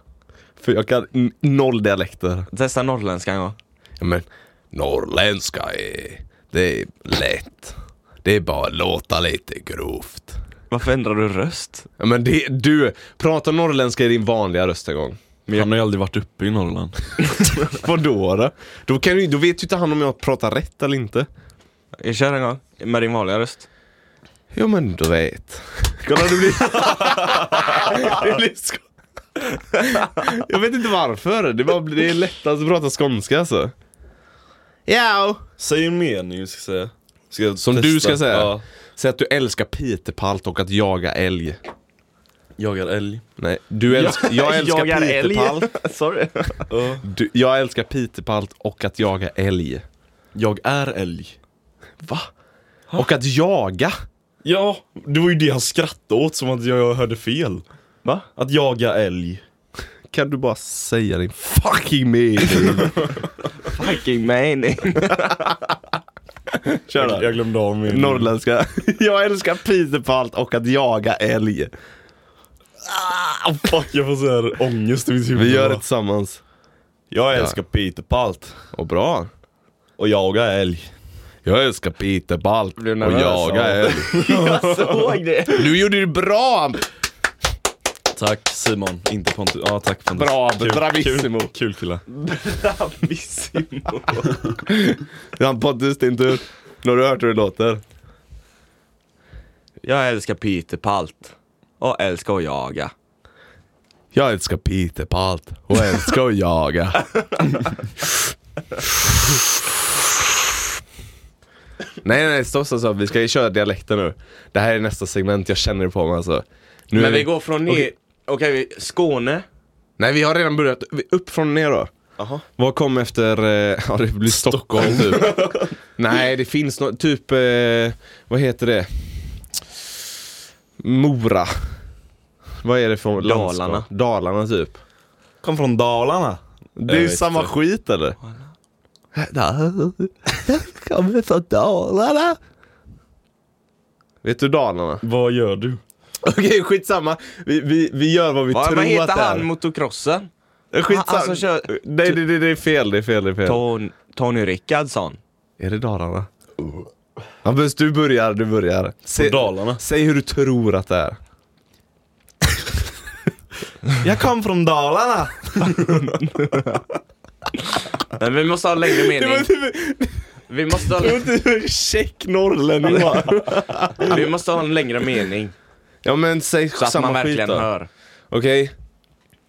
[SPEAKER 3] För jag kan n- noll dialekter.
[SPEAKER 2] Testa norrländska en gång.
[SPEAKER 3] Ja, men norrländska är, det är lätt. Det är bara att låta lite grovt.
[SPEAKER 2] Varför ändrar du röst?
[SPEAKER 3] Ja, men det, du, prata norrländska i din vanliga röst en gång.
[SPEAKER 1] Han har ju aldrig varit uppe i Norrland.
[SPEAKER 3] Vadå då? Då, kan du, då vet ju inte han om jag pratar rätt eller inte.
[SPEAKER 2] Jag kör en gång. Med din vanliga röst.
[SPEAKER 3] Jo men du vet. Kolla det blir... det blir sko... jag vet inte varför. Det, bara, blir- det är lättast att prata skånska alltså. Ja.
[SPEAKER 1] Säg en mening ska jag säga. Ska jag
[SPEAKER 3] Som
[SPEAKER 1] testa?
[SPEAKER 3] du ska säga.
[SPEAKER 1] Ja.
[SPEAKER 3] Säg att du älskar Peterpalt och att jaga älg.
[SPEAKER 1] Jagar älg.
[SPEAKER 3] Nej, du älskar... Jag älskar
[SPEAKER 2] jagar älg.
[SPEAKER 3] Peterpalt.
[SPEAKER 2] Sorry.
[SPEAKER 3] Du, jag älskar Peterpalt och att jaga älg.
[SPEAKER 1] Jag är älg.
[SPEAKER 3] Va? Och att jaga?
[SPEAKER 1] Ja, det var ju det han skrattade åt som att jag hörde fel.
[SPEAKER 2] Va?
[SPEAKER 1] Att jaga älg.
[SPEAKER 3] Kan du bara säga din fucking mening?
[SPEAKER 2] Fucking mening.
[SPEAKER 1] Kör jag, jag glömde av min.
[SPEAKER 3] Norrländska. Jag älskar Peterpalt och att jaga älg.
[SPEAKER 1] Ah, fuck, jag får så här ångest i mitt huvud.
[SPEAKER 3] Vi gör det
[SPEAKER 1] bara.
[SPEAKER 3] tillsammans.
[SPEAKER 1] Jag älskar Peter Palt
[SPEAKER 3] Och bra.
[SPEAKER 1] och jagar älg.
[SPEAKER 3] Jag älskar Peterpalt och jaga älg.
[SPEAKER 2] Jag såg det.
[SPEAKER 3] Du gjorde det bra!
[SPEAKER 1] Tack Simon, inte Pontus. Ja, tack Pontus.
[SPEAKER 3] Bra,
[SPEAKER 1] Kul,
[SPEAKER 3] bravissimo.
[SPEAKER 1] Kul, kul killar.
[SPEAKER 2] Bravissimo.
[SPEAKER 3] Han Pontus, din tur. Nu har du hört hur det låter.
[SPEAKER 2] Jag älskar Peter Palt. Och älskar att jaga.
[SPEAKER 3] Jag älskar Peterpalt och älskar att jaga. Nej nej stopp stopp stopp, vi ska ju köra dialekter nu. Det här är nästa segment, jag känner det på mig alltså. Nu är
[SPEAKER 2] Men vi går från ner... Okej, vi- Skåne.
[SPEAKER 3] Nej vi har redan börjat, Vi- upp från ner då.
[SPEAKER 2] Jaha.
[SPEAKER 3] Vad kom efter, eh, ja det blir Stockholm typ. Nej det finns något, typ, eh, vad heter det? Mora. Vad är det för landskap?
[SPEAKER 2] Dalarna.
[SPEAKER 3] Dalarna typ.
[SPEAKER 1] Kom från Dalarna.
[SPEAKER 3] Jag
[SPEAKER 1] Det är ju
[SPEAKER 3] vet
[SPEAKER 1] samma
[SPEAKER 3] inte.
[SPEAKER 1] skit eller?
[SPEAKER 8] Kommer från Dalarna.
[SPEAKER 3] Vet du Dalarna?
[SPEAKER 1] Vad gör du?
[SPEAKER 3] Okej skitsamma, vi, vi, vi gör vad vi
[SPEAKER 2] Vad
[SPEAKER 3] tror
[SPEAKER 2] vad heter
[SPEAKER 3] att det är.
[SPEAKER 2] han motocrossen?
[SPEAKER 3] Skitsamma.
[SPEAKER 2] Han som kör- typ
[SPEAKER 3] Nej det, det, det är fel, det är fel, det är fel.
[SPEAKER 2] Ton, Tony Rickardsson.
[SPEAKER 3] Är det Dalarna? Ja, men du börjar, du börjar. Sä-
[SPEAKER 1] Dalarna.
[SPEAKER 3] Säg hur du tror att det är.
[SPEAKER 1] Jag kom från Dalarna.
[SPEAKER 2] Men vi måste ha en längre mening. Vi måste ha,
[SPEAKER 3] Check norrlänning
[SPEAKER 2] vi måste ha en längre mening.
[SPEAKER 3] Ja men säg
[SPEAKER 2] Så att
[SPEAKER 3] samma
[SPEAKER 2] man verkligen
[SPEAKER 3] skit då.
[SPEAKER 2] hör.
[SPEAKER 3] Okej?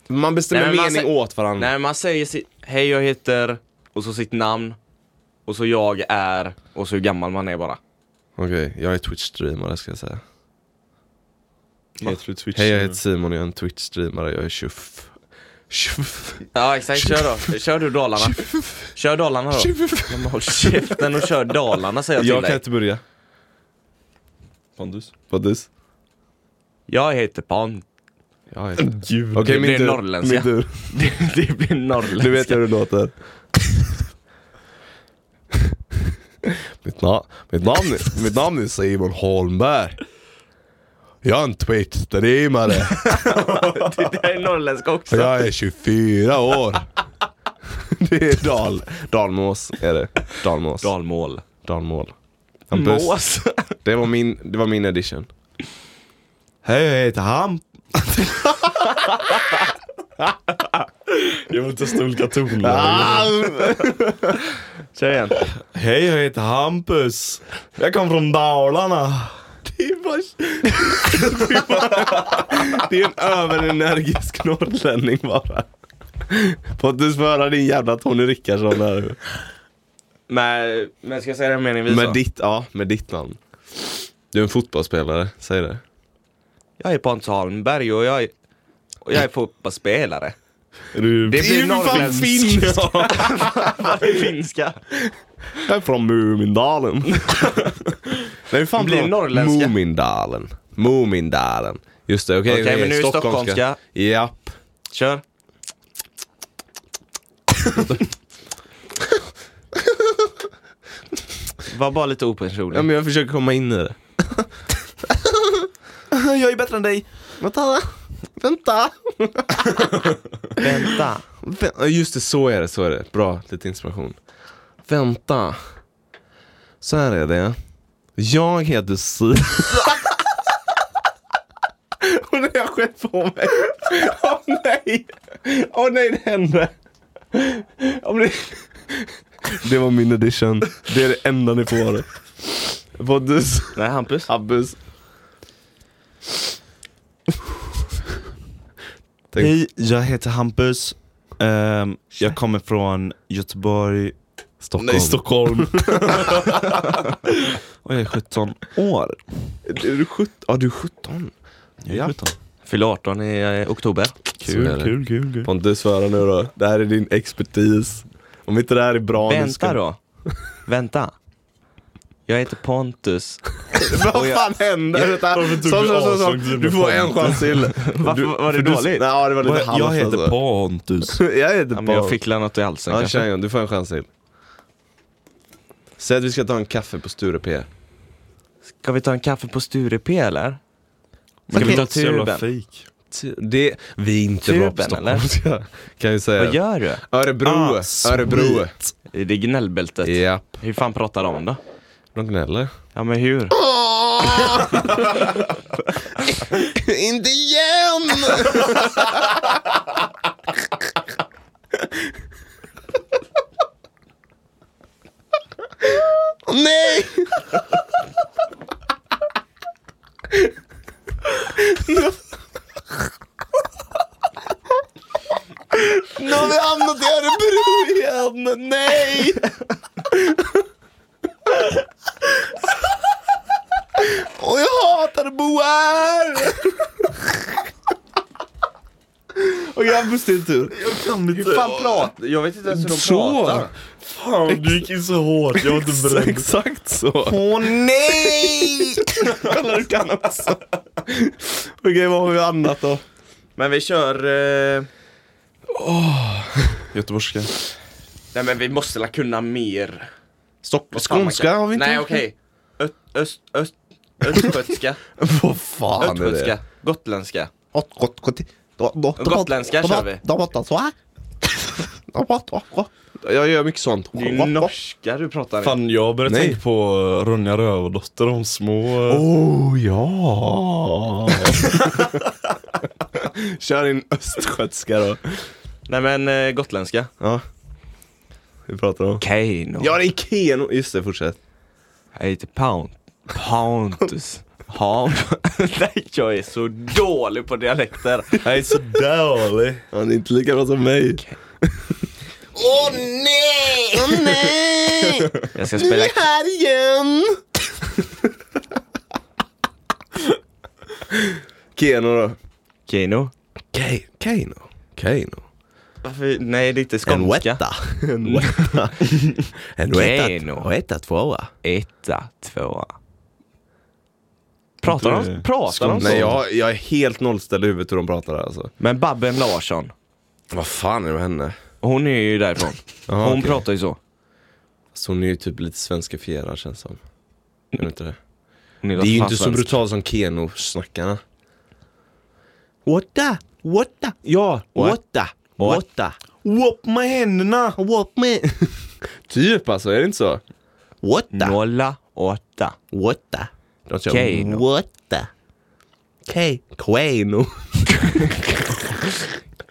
[SPEAKER 3] Man bestämmer
[SPEAKER 2] Nej, men man
[SPEAKER 3] mening
[SPEAKER 2] sä-
[SPEAKER 3] åt varandra.
[SPEAKER 2] Nej, man säger sitt, hej jag heter, och så sitt namn, och så jag är, och så hur gammal man är bara.
[SPEAKER 3] Okej, jag är Twitch-streamare ska jag säga.
[SPEAKER 1] Heter du Twitch? eh,
[SPEAKER 3] Hej jag heter Simon, jag är en Twitch-streamare, jag är tjuff. Tjuff.
[SPEAKER 2] Ja exakt, kör då. Kör du Dalarna. Kör Dalarna då. Ja, men Håll käften och kör Dalarna säger jag till
[SPEAKER 3] Jag kan
[SPEAKER 2] dig.
[SPEAKER 3] inte börja.
[SPEAKER 1] Pandus.
[SPEAKER 3] Pontus.
[SPEAKER 2] Jag heter Pan.
[SPEAKER 3] Jag heter... Okej
[SPEAKER 1] Gud.
[SPEAKER 2] det
[SPEAKER 3] min
[SPEAKER 2] är
[SPEAKER 3] tur.
[SPEAKER 2] norrländska.
[SPEAKER 3] Min tur.
[SPEAKER 2] Det, det blir norrländska.
[SPEAKER 3] Nu vet jag hur det låter. mitt, na- mitt, namn, är- mitt namn är Simon Holmberg. Jag är en Twitch-streamare.
[SPEAKER 2] Det där är norrländska också.
[SPEAKER 3] Jag är 24 år. Det är dal, dalmås är det. Dalmås.
[SPEAKER 2] Dalmål.
[SPEAKER 3] dalmål. Hampus,
[SPEAKER 2] Mås.
[SPEAKER 3] Det var min, det var min edition.
[SPEAKER 1] Hej jag heter Ham. jag vill testa olika toner.
[SPEAKER 2] Ah! Kör igen.
[SPEAKER 1] Hej jag heter Hampus. Jag kom från Dalarna.
[SPEAKER 3] Det är en överenergisk norrlänning bara. Pontus får höra din jävla Tony Rickardsson här.
[SPEAKER 2] Men, men ska jag säga den meningen vi sa?
[SPEAKER 3] Med ditt, ja, med ditt namn. Du är en fotbollsspelare, säg det.
[SPEAKER 2] Jag är Pontus Holmberg och jag är, och jag är fotbollsspelare.
[SPEAKER 1] Är du...
[SPEAKER 2] Det blir
[SPEAKER 3] norrländsk.
[SPEAKER 2] norrländsk. Det är finska.
[SPEAKER 3] Jag är från Mumindalen. Nej, hur fan
[SPEAKER 2] Det blir
[SPEAKER 3] pratar-
[SPEAKER 2] norrländska.
[SPEAKER 3] Mumindalen. Mumindalen. Just det, okej.
[SPEAKER 2] Okej,
[SPEAKER 3] okej,
[SPEAKER 2] men nu är det stockholmska.
[SPEAKER 3] Japp.
[SPEAKER 2] Kör. Var bara lite opersonlig.
[SPEAKER 3] Ja, men jag försöker komma in i det. jag är bättre än dig. Vänta. Vänta.
[SPEAKER 2] Vänta.
[SPEAKER 3] Vä- Just det, så är det. Så är det. Bra, lite inspiration. Vänta. Så här är det. Jag heter Sy... Och nu har jag skett på mig. Åh nej! Åh nej, det hände. Om det... det var min edition. Det är det enda ni får. Pontus.
[SPEAKER 2] Nej, Hampus.
[SPEAKER 3] Hampus. Tänk-
[SPEAKER 1] Hej, jag heter Hampus. Ehm, jag kommer från Göteborg.
[SPEAKER 3] Stockholm.
[SPEAKER 1] Nej, Stockholm. Och jag är 17 år.
[SPEAKER 3] Är du 17? Ja, du är 17.
[SPEAKER 1] Jag är 17.
[SPEAKER 2] Fyller 18 i eh, oktober.
[SPEAKER 3] Så är det.
[SPEAKER 1] kul, kul, kul.
[SPEAKER 3] Pontus, får höra nu då. Det här är din expertis. Om inte det här är bra nu
[SPEAKER 2] Vänta
[SPEAKER 3] ska...
[SPEAKER 2] då. Vänta. Jag heter Pontus.
[SPEAKER 3] Vad fan händer? Vänta.
[SPEAKER 1] Varför
[SPEAKER 3] Så,
[SPEAKER 1] tog du
[SPEAKER 3] så, så, så.
[SPEAKER 1] avstånd till
[SPEAKER 3] Du får en
[SPEAKER 1] Pontus?
[SPEAKER 3] chans till.
[SPEAKER 2] Varför var det
[SPEAKER 3] för du-
[SPEAKER 2] dåligt?
[SPEAKER 3] Nej, ja, det var lite
[SPEAKER 1] Jag
[SPEAKER 3] halvt,
[SPEAKER 1] heter
[SPEAKER 3] alltså.
[SPEAKER 1] Pontus.
[SPEAKER 3] Jag heter
[SPEAKER 2] Ja,
[SPEAKER 3] Pontus.
[SPEAKER 2] men jag fick något i halsen
[SPEAKER 3] Ja,
[SPEAKER 2] kanske.
[SPEAKER 3] kör en gång. Du får en chans till. Säg att vi ska ta en kaffe på Sture P.
[SPEAKER 2] Ska vi ta en kaffe på Sturepé eller? Ska
[SPEAKER 1] Men
[SPEAKER 2] vi ta
[SPEAKER 1] inte så jävla
[SPEAKER 2] tuben?
[SPEAKER 1] fake.
[SPEAKER 3] Det, vi är inte bra på
[SPEAKER 2] Tuben,
[SPEAKER 3] Stockholm. Kan vi säga.
[SPEAKER 2] Vad gör du?
[SPEAKER 3] Örebro.
[SPEAKER 1] Ah,
[SPEAKER 3] Örebro.
[SPEAKER 2] Det är gnällbältet.
[SPEAKER 3] Japp.
[SPEAKER 2] Hur fan pratar de om då?
[SPEAKER 3] De gnäller.
[SPEAKER 2] Ja men hur?
[SPEAKER 3] Inte igen! Nej! Nu har vi hamnat i Örebro igen! Nej! Och jag hatar att bo här! Okej,
[SPEAKER 1] fram på din tur. Jag kan inte.
[SPEAKER 9] Hur fan pratar Jag vet inte ens hur de
[SPEAKER 1] Så.
[SPEAKER 9] pratar.
[SPEAKER 1] Fan, du gick in så hårt. Jag var inte beredd.
[SPEAKER 4] Exakt så.
[SPEAKER 9] Åh nej!
[SPEAKER 2] Kolla, du kan också. Okej, vad har vi annat då? Men vi kör... Eh...
[SPEAKER 1] Göteborgska.
[SPEAKER 2] Nej men vi måste la kunna mer.
[SPEAKER 9] Stopp,
[SPEAKER 2] Fan, man
[SPEAKER 9] skånska
[SPEAKER 2] kan-
[SPEAKER 9] har vi inte.
[SPEAKER 2] Nej okej. Öst, öst, öst, östgötska.
[SPEAKER 9] Vad fan är det?
[SPEAKER 2] östgötska. Gotländska.
[SPEAKER 9] Gott, gott, gott. Då- då-
[SPEAKER 2] Gotländska
[SPEAKER 9] då-
[SPEAKER 2] kör
[SPEAKER 9] då-
[SPEAKER 2] vi.
[SPEAKER 9] då- då- då- så här. Då- då- då- då.
[SPEAKER 3] Jag gör mycket sånt.
[SPEAKER 2] Det är ju norska du pratar.
[SPEAKER 1] Fan, jag började tänka på eh, Ronja Rövardotter, de små... eh,
[SPEAKER 9] Oh ja!
[SPEAKER 3] Kör in östgötska då.
[SPEAKER 2] Nej men eh, gotländska.
[SPEAKER 3] Vi pratar om.
[SPEAKER 2] Keino.
[SPEAKER 3] Ja, det är Keno. Just det, fortsätt.
[SPEAKER 2] Jag heter Pound. Pontus. Ham. Nej jag är så dålig på dialekter.
[SPEAKER 1] Jag är så dålig.
[SPEAKER 3] Han är inte lika bra som mig.
[SPEAKER 2] Jag ska spela...
[SPEAKER 3] Keno då.
[SPEAKER 2] Keino.
[SPEAKER 3] Ke- Keno. Keno.
[SPEAKER 2] Varför? Nej det är inte
[SPEAKER 9] En
[SPEAKER 2] skånska.
[SPEAKER 9] wetta. En wetta. En wetta.
[SPEAKER 2] Keno.
[SPEAKER 9] En wetta tvåa.
[SPEAKER 2] Etta, tvåa. Pratar
[SPEAKER 1] Inte-
[SPEAKER 2] de, pratar de
[SPEAKER 3] Nej,
[SPEAKER 2] så?
[SPEAKER 3] jag, jag är helt nollställd i huvudet hur de pratar där alltså.
[SPEAKER 2] Men Babben Larsson,
[SPEAKER 3] Vad fan är det med henne?
[SPEAKER 2] hon är ju därifrån.
[SPEAKER 3] Jaha,
[SPEAKER 2] hon
[SPEAKER 3] okej.
[SPEAKER 2] pratar ju så.
[SPEAKER 3] Alltså, hon är ju typ lite svenskifierad känns som. Är det inte det?
[SPEAKER 2] Hon
[SPEAKER 3] Det är ju inte så
[SPEAKER 2] svensk.
[SPEAKER 3] brutalt som Keno-snackarna.
[SPEAKER 9] Wetta. Wetta.
[SPEAKER 3] Ja!
[SPEAKER 9] Wetta. Wetta.
[SPEAKER 1] Whoop med händerna!
[SPEAKER 9] Whoop me.
[SPEAKER 3] Typ alltså, är det inte så?
[SPEAKER 9] Wetta.
[SPEAKER 2] Nolla, åtta.
[SPEAKER 9] Wetta.
[SPEAKER 3] De kör-
[SPEAKER 2] Keino.
[SPEAKER 9] Wetta. Okej. Queno.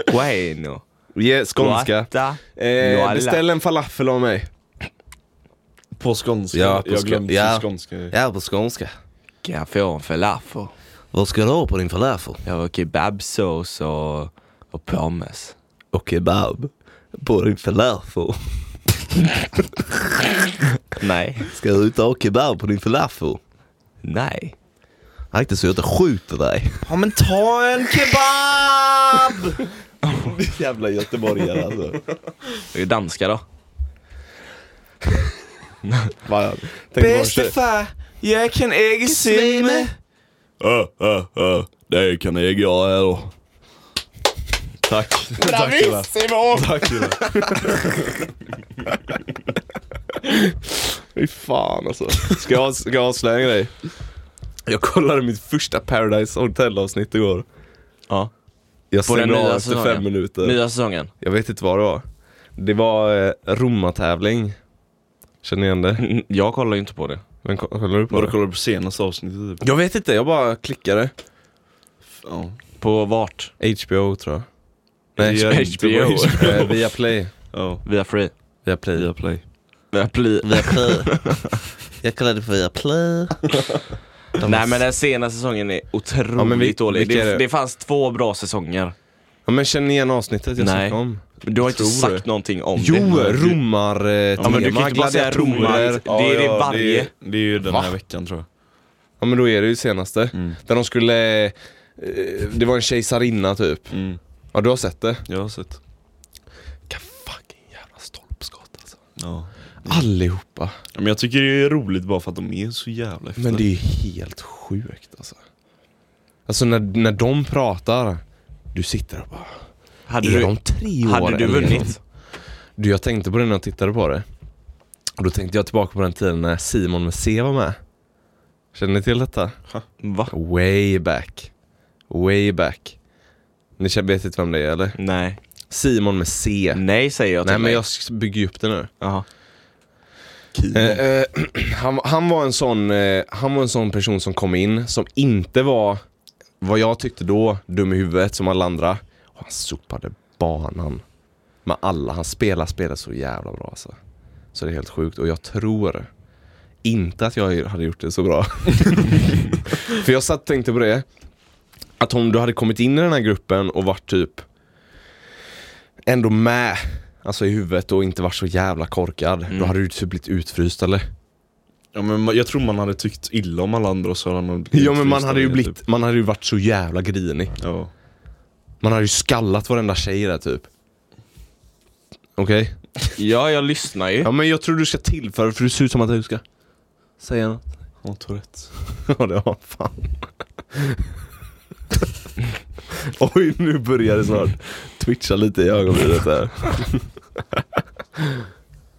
[SPEAKER 2] Quaino.
[SPEAKER 3] Ge skånska.
[SPEAKER 2] Åtta.
[SPEAKER 3] Eh,
[SPEAKER 2] Nolla.
[SPEAKER 3] beställ en falafel av mig.
[SPEAKER 1] På skånska.
[SPEAKER 3] Ja, på
[SPEAKER 1] jag
[SPEAKER 3] skå-
[SPEAKER 1] glömde
[SPEAKER 9] ja.
[SPEAKER 1] skånska.
[SPEAKER 9] Ja, på skånska.
[SPEAKER 2] Kan jag få en falafel?
[SPEAKER 9] Vad ska du ha på din falafel?
[SPEAKER 2] Jag har kebabsås och, och pommes.
[SPEAKER 9] Och kebab. På din falafel.
[SPEAKER 2] Nej.
[SPEAKER 9] Ska du inte ha kebab på din falafel?
[SPEAKER 2] Nej.
[SPEAKER 9] Akta så jag inte skjuter dig.
[SPEAKER 1] Ja men ta en kebab!
[SPEAKER 9] Jävla göteborgare alltså.
[SPEAKER 2] Det är ju danska då.
[SPEAKER 3] Bäste
[SPEAKER 2] Jag kan äga simma.
[SPEAKER 1] Ö, ö, ö. Det är kanel jag är då. Tack. Tack killar. Tack killar.
[SPEAKER 3] Fy fan alltså. Ska jag, ska jag avslöja en grej? Jag kollade mitt första Paradise Hotel-avsnitt igår.
[SPEAKER 2] Ja.
[SPEAKER 3] Jag
[SPEAKER 2] På den
[SPEAKER 3] stängde
[SPEAKER 2] nya
[SPEAKER 3] av efter
[SPEAKER 2] säsongen.
[SPEAKER 3] fem minuter.
[SPEAKER 2] Nya säsongen.
[SPEAKER 3] Jag vet inte vad det var. Det var eh, romartävling. Känner ni igen det?
[SPEAKER 2] Mm, Jag kollar ju inte på det.
[SPEAKER 3] Vem ko- kollar du på?
[SPEAKER 1] Vadå
[SPEAKER 3] Det?
[SPEAKER 1] kollar du på senaste avsnittet typ?
[SPEAKER 3] Jag vet inte, jag bara klickade.
[SPEAKER 1] Ja.
[SPEAKER 2] På vart?
[SPEAKER 3] HBO tror jag.
[SPEAKER 1] Det gör inte på
[SPEAKER 2] HBO.
[SPEAKER 3] Eh, via Play.
[SPEAKER 1] Ja.
[SPEAKER 2] Via Free.
[SPEAKER 3] Via Play.
[SPEAKER 1] Via play.
[SPEAKER 2] Via Play.
[SPEAKER 9] Via play. Jag kallade det för via play.
[SPEAKER 2] Nej men den senaste säsongen är otroligt
[SPEAKER 3] Ja, men vi-
[SPEAKER 2] dålig.
[SPEAKER 3] vilka är
[SPEAKER 2] Det,
[SPEAKER 3] det?
[SPEAKER 2] det fanns två bra säsonger.
[SPEAKER 3] Ja, men känner ni igen avsnittet jag
[SPEAKER 2] Nej.
[SPEAKER 3] snackade om?
[SPEAKER 2] Men Du har inte
[SPEAKER 3] Tror
[SPEAKER 2] sagt
[SPEAKER 3] det.
[SPEAKER 2] någonting om
[SPEAKER 3] Jo,
[SPEAKER 2] det.
[SPEAKER 3] romar eh,
[SPEAKER 2] Ja, men du kan
[SPEAKER 3] tema,
[SPEAKER 2] inte bara säga
[SPEAKER 3] gladiatorer.
[SPEAKER 2] romar. Det är det varje.
[SPEAKER 1] Det, är ju den här veckan tror jag.
[SPEAKER 3] Ja men då är det ju senaste. Där de skulle, eh, det var en kejsarinna typ.
[SPEAKER 1] Mm.
[SPEAKER 3] Ja du har sett det?
[SPEAKER 1] Jag har sett.
[SPEAKER 3] Vilka fucking jävla stolpskott alltså.
[SPEAKER 1] Ja.
[SPEAKER 3] Allihopa.
[SPEAKER 1] Men jag tycker det är roligt bara för att de är så jävla efter.
[SPEAKER 3] Men det är ju helt sjukt alltså. Alltså när, när de pratar, du sitter och bara,
[SPEAKER 2] Hade
[SPEAKER 3] är
[SPEAKER 2] du,
[SPEAKER 3] de tre år
[SPEAKER 2] hade du
[SPEAKER 3] äldre än
[SPEAKER 2] vunnit?
[SPEAKER 3] dem? Du jag tänkte på det när jag tittade på det. Och då tänkte jag tillbaka på den tiden när Simon med C var med. Känner ni till detta?
[SPEAKER 2] Va?
[SPEAKER 3] Way back. Way back. Ni känner- vet inte vem det är eller?
[SPEAKER 2] Nej.
[SPEAKER 3] Simon med C.
[SPEAKER 2] Nej säger jag till
[SPEAKER 3] Nej men
[SPEAKER 2] dig.
[SPEAKER 3] Mm. jag s- bygger ju upp det nu.
[SPEAKER 2] Jaha.
[SPEAKER 3] Eh, eh, han, han, var en sån, eh, han var en sån person som kom in som inte var, vad jag tyckte då, dum i huvudet som alla andra. Och han sopade banan med alla. Han spelar spelet så jävla bra alltså. Så det är helt sjukt och jag tror inte att jag hade gjort det så bra. För jag satt och tänkte på det, att om du hade kommit in i den här gruppen och varit typ ändå med Alltså i huvudet och inte varit så jävla korkad.
[SPEAKER 2] Mm.
[SPEAKER 3] Då hade du typ blivit utfryst eller?
[SPEAKER 1] Ja, men man- jag tror man hade tyckt illa om alla andra och så hade man blivit
[SPEAKER 3] Ja men man
[SPEAKER 2] typ.
[SPEAKER 1] utfryst
[SPEAKER 3] hade ju
[SPEAKER 1] av det,
[SPEAKER 3] blivit, man hade ju varit så jävla grinig.
[SPEAKER 1] Typ. Ja.
[SPEAKER 3] Man hade ju skallat varenda tjej där typ. Okej?
[SPEAKER 2] Ja, jag lyssnar ju.
[SPEAKER 3] Ja men jag tror du ska tillföra för det ser ut som att du ska säga något.
[SPEAKER 1] Hon tog rätt.
[SPEAKER 3] Ja det har fan. Oj nu börjar det snart twitcha lite i ögonbrynet där.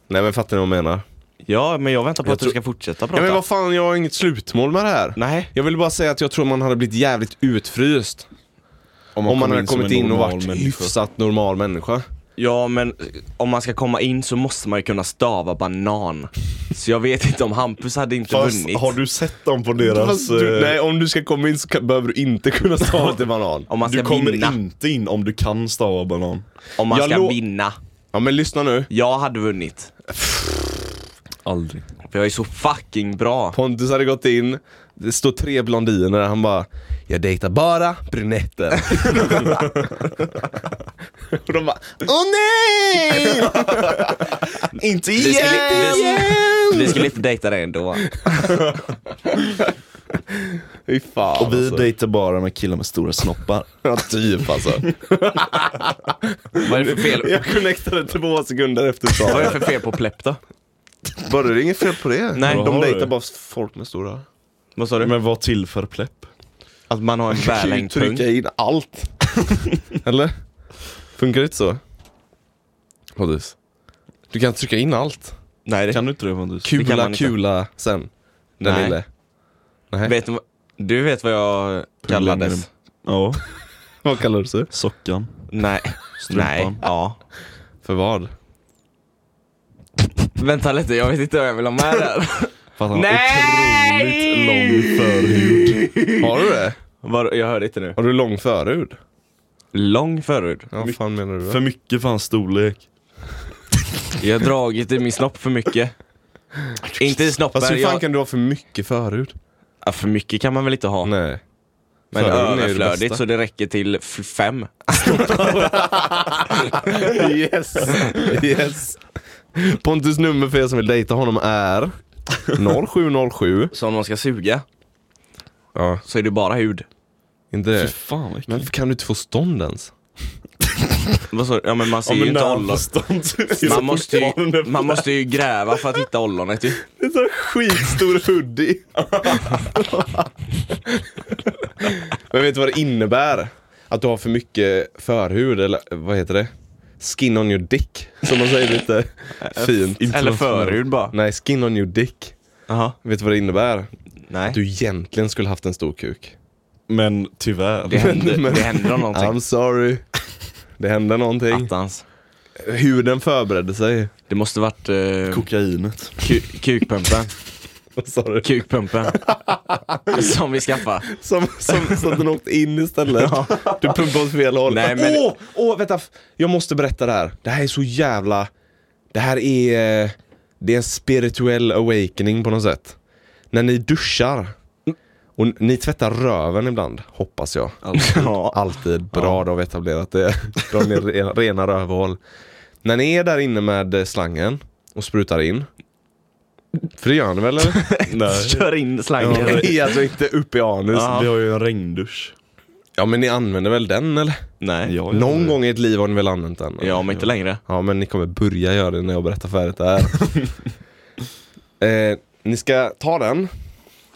[SPEAKER 3] Nej men fattar ni vad jag menar?
[SPEAKER 2] Ja, men jag väntar på
[SPEAKER 3] Jag
[SPEAKER 2] att du
[SPEAKER 3] tror-
[SPEAKER 2] ska fortsätta prata.
[SPEAKER 3] Ja, men vad fan jag har inget slutmål med det här.
[SPEAKER 2] Nej.
[SPEAKER 3] Jag vill bara säga att jag tror man hade blivit jävligt utfryst om man
[SPEAKER 1] kom
[SPEAKER 3] hade
[SPEAKER 1] som
[SPEAKER 3] kommit
[SPEAKER 1] en
[SPEAKER 3] in och
[SPEAKER 1] normal
[SPEAKER 3] varit
[SPEAKER 1] människa.
[SPEAKER 3] hyfsat normal människa.
[SPEAKER 2] Ja, men eh, om man ska komma in så måste man ju kunna stava banan. Så jag vet inte om Hampus hade inte vunnit.
[SPEAKER 1] du sett dem på deras...
[SPEAKER 3] Fast du,
[SPEAKER 1] eh,
[SPEAKER 3] nej, om du ska komma in så kan, behöver du inte kunna stava till banan.
[SPEAKER 2] Om man
[SPEAKER 1] du
[SPEAKER 2] ska
[SPEAKER 1] kommer
[SPEAKER 2] vinna.
[SPEAKER 1] inte in om du kan stava banan.
[SPEAKER 2] Om man
[SPEAKER 3] Jag
[SPEAKER 2] ska
[SPEAKER 3] lo-
[SPEAKER 2] vinna.
[SPEAKER 3] Ja men lyssna nu.
[SPEAKER 2] Jag hade vunnit.
[SPEAKER 1] Aldrig.
[SPEAKER 2] För jag är så fucking bra.
[SPEAKER 3] Pontus hade gått in, det står tre blondiner, han bara Jag dejtar bara brunetter. och de bara Åh nej! Inte
[SPEAKER 2] Vi
[SPEAKER 3] igen!
[SPEAKER 2] skulle, vi, vi skulle inte dejta dig ändå.
[SPEAKER 3] Fy fan
[SPEAKER 1] Och vi
[SPEAKER 3] alltså.
[SPEAKER 1] dejtar bara med killar med stora snoppar.
[SPEAKER 3] Ja, typ alltså.
[SPEAKER 2] Vad är det för fel,
[SPEAKER 3] Jag connectade två sekunder efter du
[SPEAKER 2] vad
[SPEAKER 3] sa
[SPEAKER 2] är
[SPEAKER 3] det.
[SPEAKER 2] det för fel på plepp då?
[SPEAKER 3] Bara det är inget fel på det.
[SPEAKER 2] Nej.
[SPEAKER 3] De
[SPEAKER 1] Vad har
[SPEAKER 3] dejtar
[SPEAKER 1] du?
[SPEAKER 3] bara folk med stora.
[SPEAKER 2] Vad sa du?
[SPEAKER 1] Men vad tillför plepp?
[SPEAKER 2] Att man har en
[SPEAKER 3] kan ju
[SPEAKER 2] välängd pung?
[SPEAKER 3] Typ trycka in allt. Eller? Funkar det inte så? Pontus. Du kan trycka in allt.
[SPEAKER 2] Nej, det,
[SPEAKER 1] Kan du inte det Pontus?
[SPEAKER 2] Det kan man
[SPEAKER 3] Kula,
[SPEAKER 2] inte.
[SPEAKER 3] kula sen. Den
[SPEAKER 2] Nej.
[SPEAKER 3] lille.
[SPEAKER 2] vet, du vad- du vet vad jag kallades?
[SPEAKER 1] Ja,
[SPEAKER 3] Vad kallar du sig?
[SPEAKER 1] sockan.
[SPEAKER 2] Nej.
[SPEAKER 1] Strumpan.
[SPEAKER 2] Nej. Ja.
[SPEAKER 3] För vad?
[SPEAKER 2] Vänta lite, jag vet inte vad jag vill ha med där.
[SPEAKER 1] För att han
[SPEAKER 2] Nej!
[SPEAKER 1] har otroligt lång förhud.
[SPEAKER 3] Har du det?
[SPEAKER 2] Vad- Jag hörde inte nu.
[SPEAKER 3] Har du lång förhud?
[SPEAKER 2] Lång förhud.
[SPEAKER 3] Ja, vad fan menar du?
[SPEAKER 1] För
[SPEAKER 3] För...
[SPEAKER 1] mycket för hans storlek.
[SPEAKER 2] Jag har dragit i min snopp för mycket. Inte i snoppen.
[SPEAKER 3] Fast hur fan
[SPEAKER 2] jag...
[SPEAKER 3] kan du ha för mycket förhud?
[SPEAKER 2] ja, för mycket kan man väl inte ha?
[SPEAKER 3] Nej.
[SPEAKER 2] men
[SPEAKER 3] förhuden är ju det bästa.
[SPEAKER 2] överflödigt så det räcker till f- fem.
[SPEAKER 3] Yes! yes! Pontus nummer för er som vill dejta honom är 0707.
[SPEAKER 2] Så om man ska suga
[SPEAKER 3] Ja,
[SPEAKER 2] så är det bara hud.
[SPEAKER 3] inte det.
[SPEAKER 1] Fan vad
[SPEAKER 3] Men kan du inte få stånd ens?
[SPEAKER 2] Vad sa du? Ja men man ser ju inte ollon. Man måste ju, man måste ju gräva för att hitta ollonet ju.
[SPEAKER 3] Det är så skitstor hoodie. Men vet du vad det innebär? Att du har för mycket förhud, eller vad heter det? Skin on your dick, som man säger lite fint.
[SPEAKER 2] Eller förhud bara.
[SPEAKER 3] Nej, skin on your dick.
[SPEAKER 2] Jaha,
[SPEAKER 3] Vet du vad det innebär?
[SPEAKER 2] nej.
[SPEAKER 3] Du egentligen skulle haft en stor kuk.
[SPEAKER 1] Men tyvärr.
[SPEAKER 2] Det händer,
[SPEAKER 3] men-
[SPEAKER 2] det händer om någonting.
[SPEAKER 3] I'm sorry. Det hände någonting.
[SPEAKER 2] Attans.
[SPEAKER 3] Huden förberedde sig.
[SPEAKER 2] Det måste varit eh,
[SPEAKER 1] Kokainet.
[SPEAKER 2] ku- kukpumpen.
[SPEAKER 3] Vad sa du?
[SPEAKER 2] Kukpumpen. Som vi skaffade.
[SPEAKER 3] Som, som, som den åkte in istället. Du pumpade åt fel håll.
[SPEAKER 2] Nej, men-
[SPEAKER 3] Åh, åh, vänta. Jag måste berätta det här. Det här är så jävla... Det här är... eh, Det är en spirituell awakening på något sätt. När ni duschar
[SPEAKER 2] Mm.
[SPEAKER 3] och ni tvättar röven ibland, hoppas jag. Ja. Alltid. Bra, du har vi etablerat det. Dra ner re- rena rövhål. När ni är där inne med eh, slangen och sprutar in. För det gör ni väl eller?
[SPEAKER 2] Kör in slangen.
[SPEAKER 3] Nej, alltså inte upp i anus.
[SPEAKER 2] Ja.
[SPEAKER 1] Alltså, Vi har ju en regndusch.
[SPEAKER 3] Ja men ni använder väl den eller?
[SPEAKER 2] Nej.
[SPEAKER 1] Ja, ja.
[SPEAKER 3] Någon gång i ett liv har ni väl använt den?
[SPEAKER 2] Ja, men inte längre.
[SPEAKER 3] Ja, men ni kommer börja göra det när jag berättar färdigt det här. eh, ni ska ta den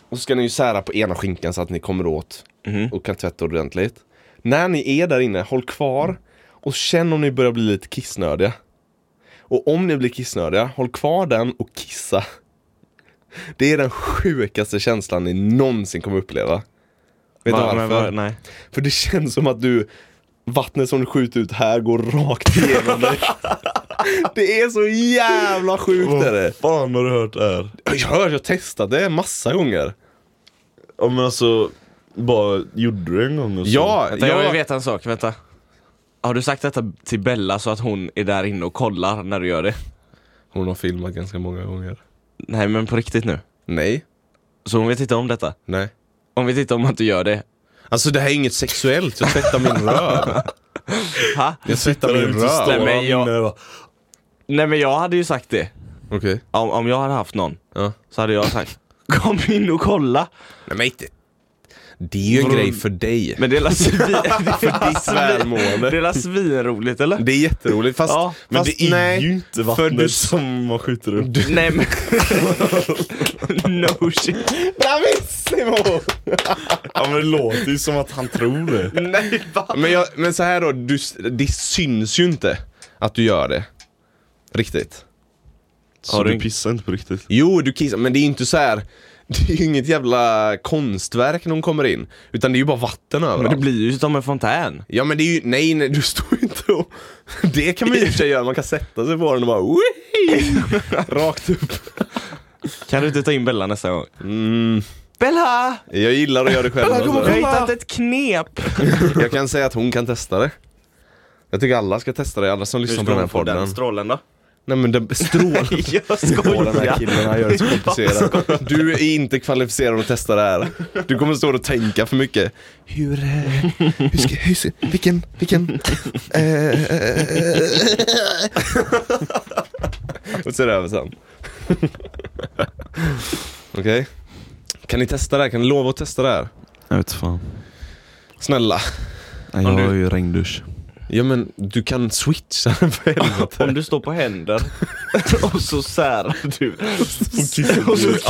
[SPEAKER 3] och så ska ni ju sära på ena skinkan så att ni kommer åt
[SPEAKER 2] Mhm.
[SPEAKER 3] och kan tvätta ordentligt. När ni är där inne, håll kvar och känn om ni börjar bli lite kissnödiga. Och om ni blir kissnödiga, håll kvar den och kissa. Det är den sjukaste känslan ni någonsin kommer uppleva. Vet du
[SPEAKER 2] Va-
[SPEAKER 3] varför?
[SPEAKER 2] men va- nej.
[SPEAKER 3] För det känns som att du Vattnet som du skjuter ut här går rakt igenom dig Det är så jävla sjukt är det
[SPEAKER 1] fan har du hört det här?
[SPEAKER 3] Jag hör, jag har testat det massa gånger
[SPEAKER 1] Ja men alltså, bara gjorde du det en gång och så.
[SPEAKER 3] Ja,
[SPEAKER 2] Vänta, jag vill
[SPEAKER 3] jag,
[SPEAKER 2] veta en sak. Vänta. Har du sagt detta till Bella så att hon är där inne och kollar när du gör det?
[SPEAKER 3] hon har filmat ganska många gånger
[SPEAKER 2] Nej, men på riktigt nu.
[SPEAKER 3] Nej,
[SPEAKER 2] Så hon vet inte om detta?
[SPEAKER 3] nej
[SPEAKER 2] Hon vet inte om att du gör det?
[SPEAKER 3] Alltså det här är inget sexuellt, jag tvättar min röv
[SPEAKER 2] Ha?
[SPEAKER 3] Jag tvättar
[SPEAKER 1] Där
[SPEAKER 3] min
[SPEAKER 1] ute står
[SPEAKER 2] Nej,
[SPEAKER 3] röv
[SPEAKER 2] men
[SPEAKER 1] han
[SPEAKER 2] jag-
[SPEAKER 1] inne och bara,
[SPEAKER 2] Nej, men jag hade ju sagt det.
[SPEAKER 3] Okej
[SPEAKER 2] Om, om jag hade haft någon
[SPEAKER 3] Ja.
[SPEAKER 2] så hade jag sagt Kom in och kolla!
[SPEAKER 3] Nej men inte Det är ju en grej för dig.
[SPEAKER 2] Men det är la svin-
[SPEAKER 3] välmående.
[SPEAKER 2] det är la svinroligt eller?
[SPEAKER 3] Det är jätteroligt fast,
[SPEAKER 2] Ja,
[SPEAKER 1] Men
[SPEAKER 3] fast
[SPEAKER 1] det är
[SPEAKER 3] nej.
[SPEAKER 1] ju inte
[SPEAKER 3] för
[SPEAKER 1] vattnet
[SPEAKER 3] du-
[SPEAKER 1] som man skjuter upp.
[SPEAKER 2] Nej men... no shit.
[SPEAKER 3] Bravissimo!
[SPEAKER 1] Ja men det låter ju som att han tror det.
[SPEAKER 2] Nej va?
[SPEAKER 3] Men, jag, men så här då, du, det syns ju inte att du gör det. Riktigt.
[SPEAKER 1] Så
[SPEAKER 2] Har du
[SPEAKER 1] du
[SPEAKER 2] in-
[SPEAKER 1] pissar inte på riktigt?
[SPEAKER 3] Jo, du kissar, men det är ju inte så här. Det är ju inget jävla konstverk när hon kommer in. Utan det är ju bara vatten
[SPEAKER 2] Men det
[SPEAKER 3] överallt.
[SPEAKER 2] blir ju som en fontän.
[SPEAKER 3] Ja men det är ju, nej nej du står ju inte och... Det kan man ju i och för sig göra, man kan sätta sig på den och bara "Wee!" Rakt upp.
[SPEAKER 2] Kan du inte ta in Bella nästa gång? Bella!
[SPEAKER 3] Mm. Jag gillar att göra det själv.
[SPEAKER 2] Jag har
[SPEAKER 3] alltså.
[SPEAKER 2] hittat ett knep!
[SPEAKER 3] Jag kan säga att hon kan testa det. Jag tycker alla ska testa det, alla som lyssnar på den här podden.
[SPEAKER 2] strålen då?
[SPEAKER 3] Nej men den strålar
[SPEAKER 2] Jag
[SPEAKER 3] på den här
[SPEAKER 2] skojar!
[SPEAKER 3] killen, han gör det så komplicerat. Du är inte kvalificerad att testa det här. Du kommer stå och tänka för mycket. Hur, eh, hur ska, hur ska, vilken, vilken, eh, eh. Och så är det över sen. Okej. Kan ni testa det här? Kan ni lova att testa det här?
[SPEAKER 1] Jag vet fan.
[SPEAKER 3] Snälla.
[SPEAKER 1] Nej,
[SPEAKER 2] Om
[SPEAKER 1] jag
[SPEAKER 2] du-
[SPEAKER 1] har ju regndusch.
[SPEAKER 3] Ja men du kan switcha den för helvete.
[SPEAKER 2] Om du står på händer och så särar du.
[SPEAKER 1] Och
[SPEAKER 2] så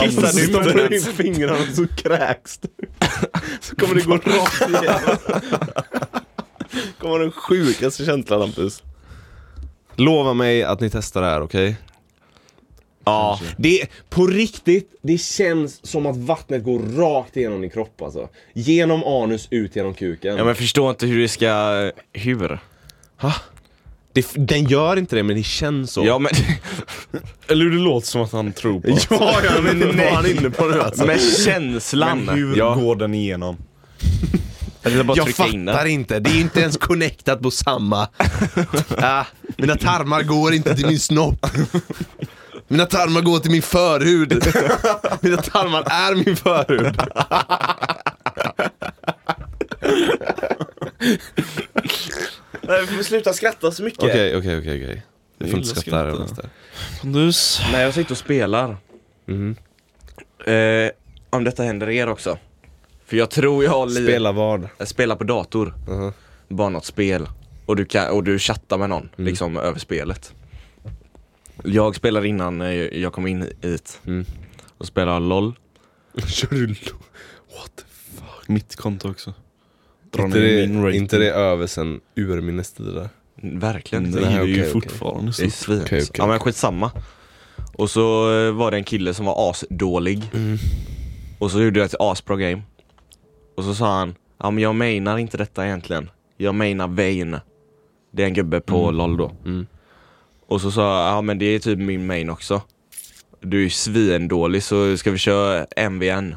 [SPEAKER 2] kissar du på den.
[SPEAKER 3] in fingrarna och så kräks du. Så kommer det gå rakt igenom. kommer den sjukaste känslan Hampus. Lova mig att ni testar det här, okej? Ja, det, på riktigt, det känns som att vattnet går rakt igenom din kropp alltså. Genom anus, ut genom kuken.
[SPEAKER 2] Ja men förstår inte hur det ska... Hur?
[SPEAKER 3] det, den gör inte det, men det känns så.
[SPEAKER 2] Ja men...
[SPEAKER 1] Eller hur det låter som att han tror på oss.
[SPEAKER 3] ja, ja, men
[SPEAKER 2] nej.
[SPEAKER 3] Vad han är inne på nu alltså.
[SPEAKER 2] Med känslan!
[SPEAKER 1] Men hur
[SPEAKER 3] Ja.
[SPEAKER 1] går den igenom?
[SPEAKER 2] Eller bara
[SPEAKER 3] Jag
[SPEAKER 2] trycka in
[SPEAKER 3] fattar
[SPEAKER 2] den.
[SPEAKER 3] inte, det är inte ens connectat på samma. Ah, mina tarmar går inte till min snopp. Mina tarmar går till min förhud. Mina tarmar är min förhud.
[SPEAKER 2] Nej, vi får sluta skratta så mycket.
[SPEAKER 3] Okej, okej, okej. okej. Jag får inte
[SPEAKER 1] gillar
[SPEAKER 3] skratta här.
[SPEAKER 1] skratt,
[SPEAKER 3] Ernest.
[SPEAKER 1] Pondus.
[SPEAKER 2] Nej, jag sitter och spelar.
[SPEAKER 3] Mm.
[SPEAKER 2] Eh, om detta händer er också. För jag tror jag har li-
[SPEAKER 3] Spela vad?
[SPEAKER 2] Jag spelar på dator.
[SPEAKER 3] Uh-huh.
[SPEAKER 2] Bara något spel. Och du, kan, och du chattar med någon,
[SPEAKER 3] Mm.
[SPEAKER 2] liksom över spelet. Jag spelade innan eh, jag kom in hit.
[SPEAKER 3] Mm.
[SPEAKER 2] Och spelade LOL.
[SPEAKER 3] Kör du
[SPEAKER 1] Mitt konto också. Dra
[SPEAKER 3] inte
[SPEAKER 1] ner min
[SPEAKER 3] det,
[SPEAKER 1] rating.
[SPEAKER 3] inte det över sen urminnes tider?
[SPEAKER 2] Verkligen
[SPEAKER 1] Det
[SPEAKER 2] inte.
[SPEAKER 1] är
[SPEAKER 3] Nej,
[SPEAKER 1] ju
[SPEAKER 3] okej, okej.
[SPEAKER 1] fortfarande
[SPEAKER 2] Det är
[SPEAKER 1] så.
[SPEAKER 2] svin.
[SPEAKER 3] Okej, okej,
[SPEAKER 2] ja men skitsamma. Och så eh, var det en kille som var asdålig. Och så gjorde jag ett asbra game. Och så sa han, ja men jag menar inte detta egentligen. Jag menar Vane. Det är en gubbe på LOL då. Och så sa jag, ja men det är typ min main också. Du är ju svindålig så ska vi köra MVN?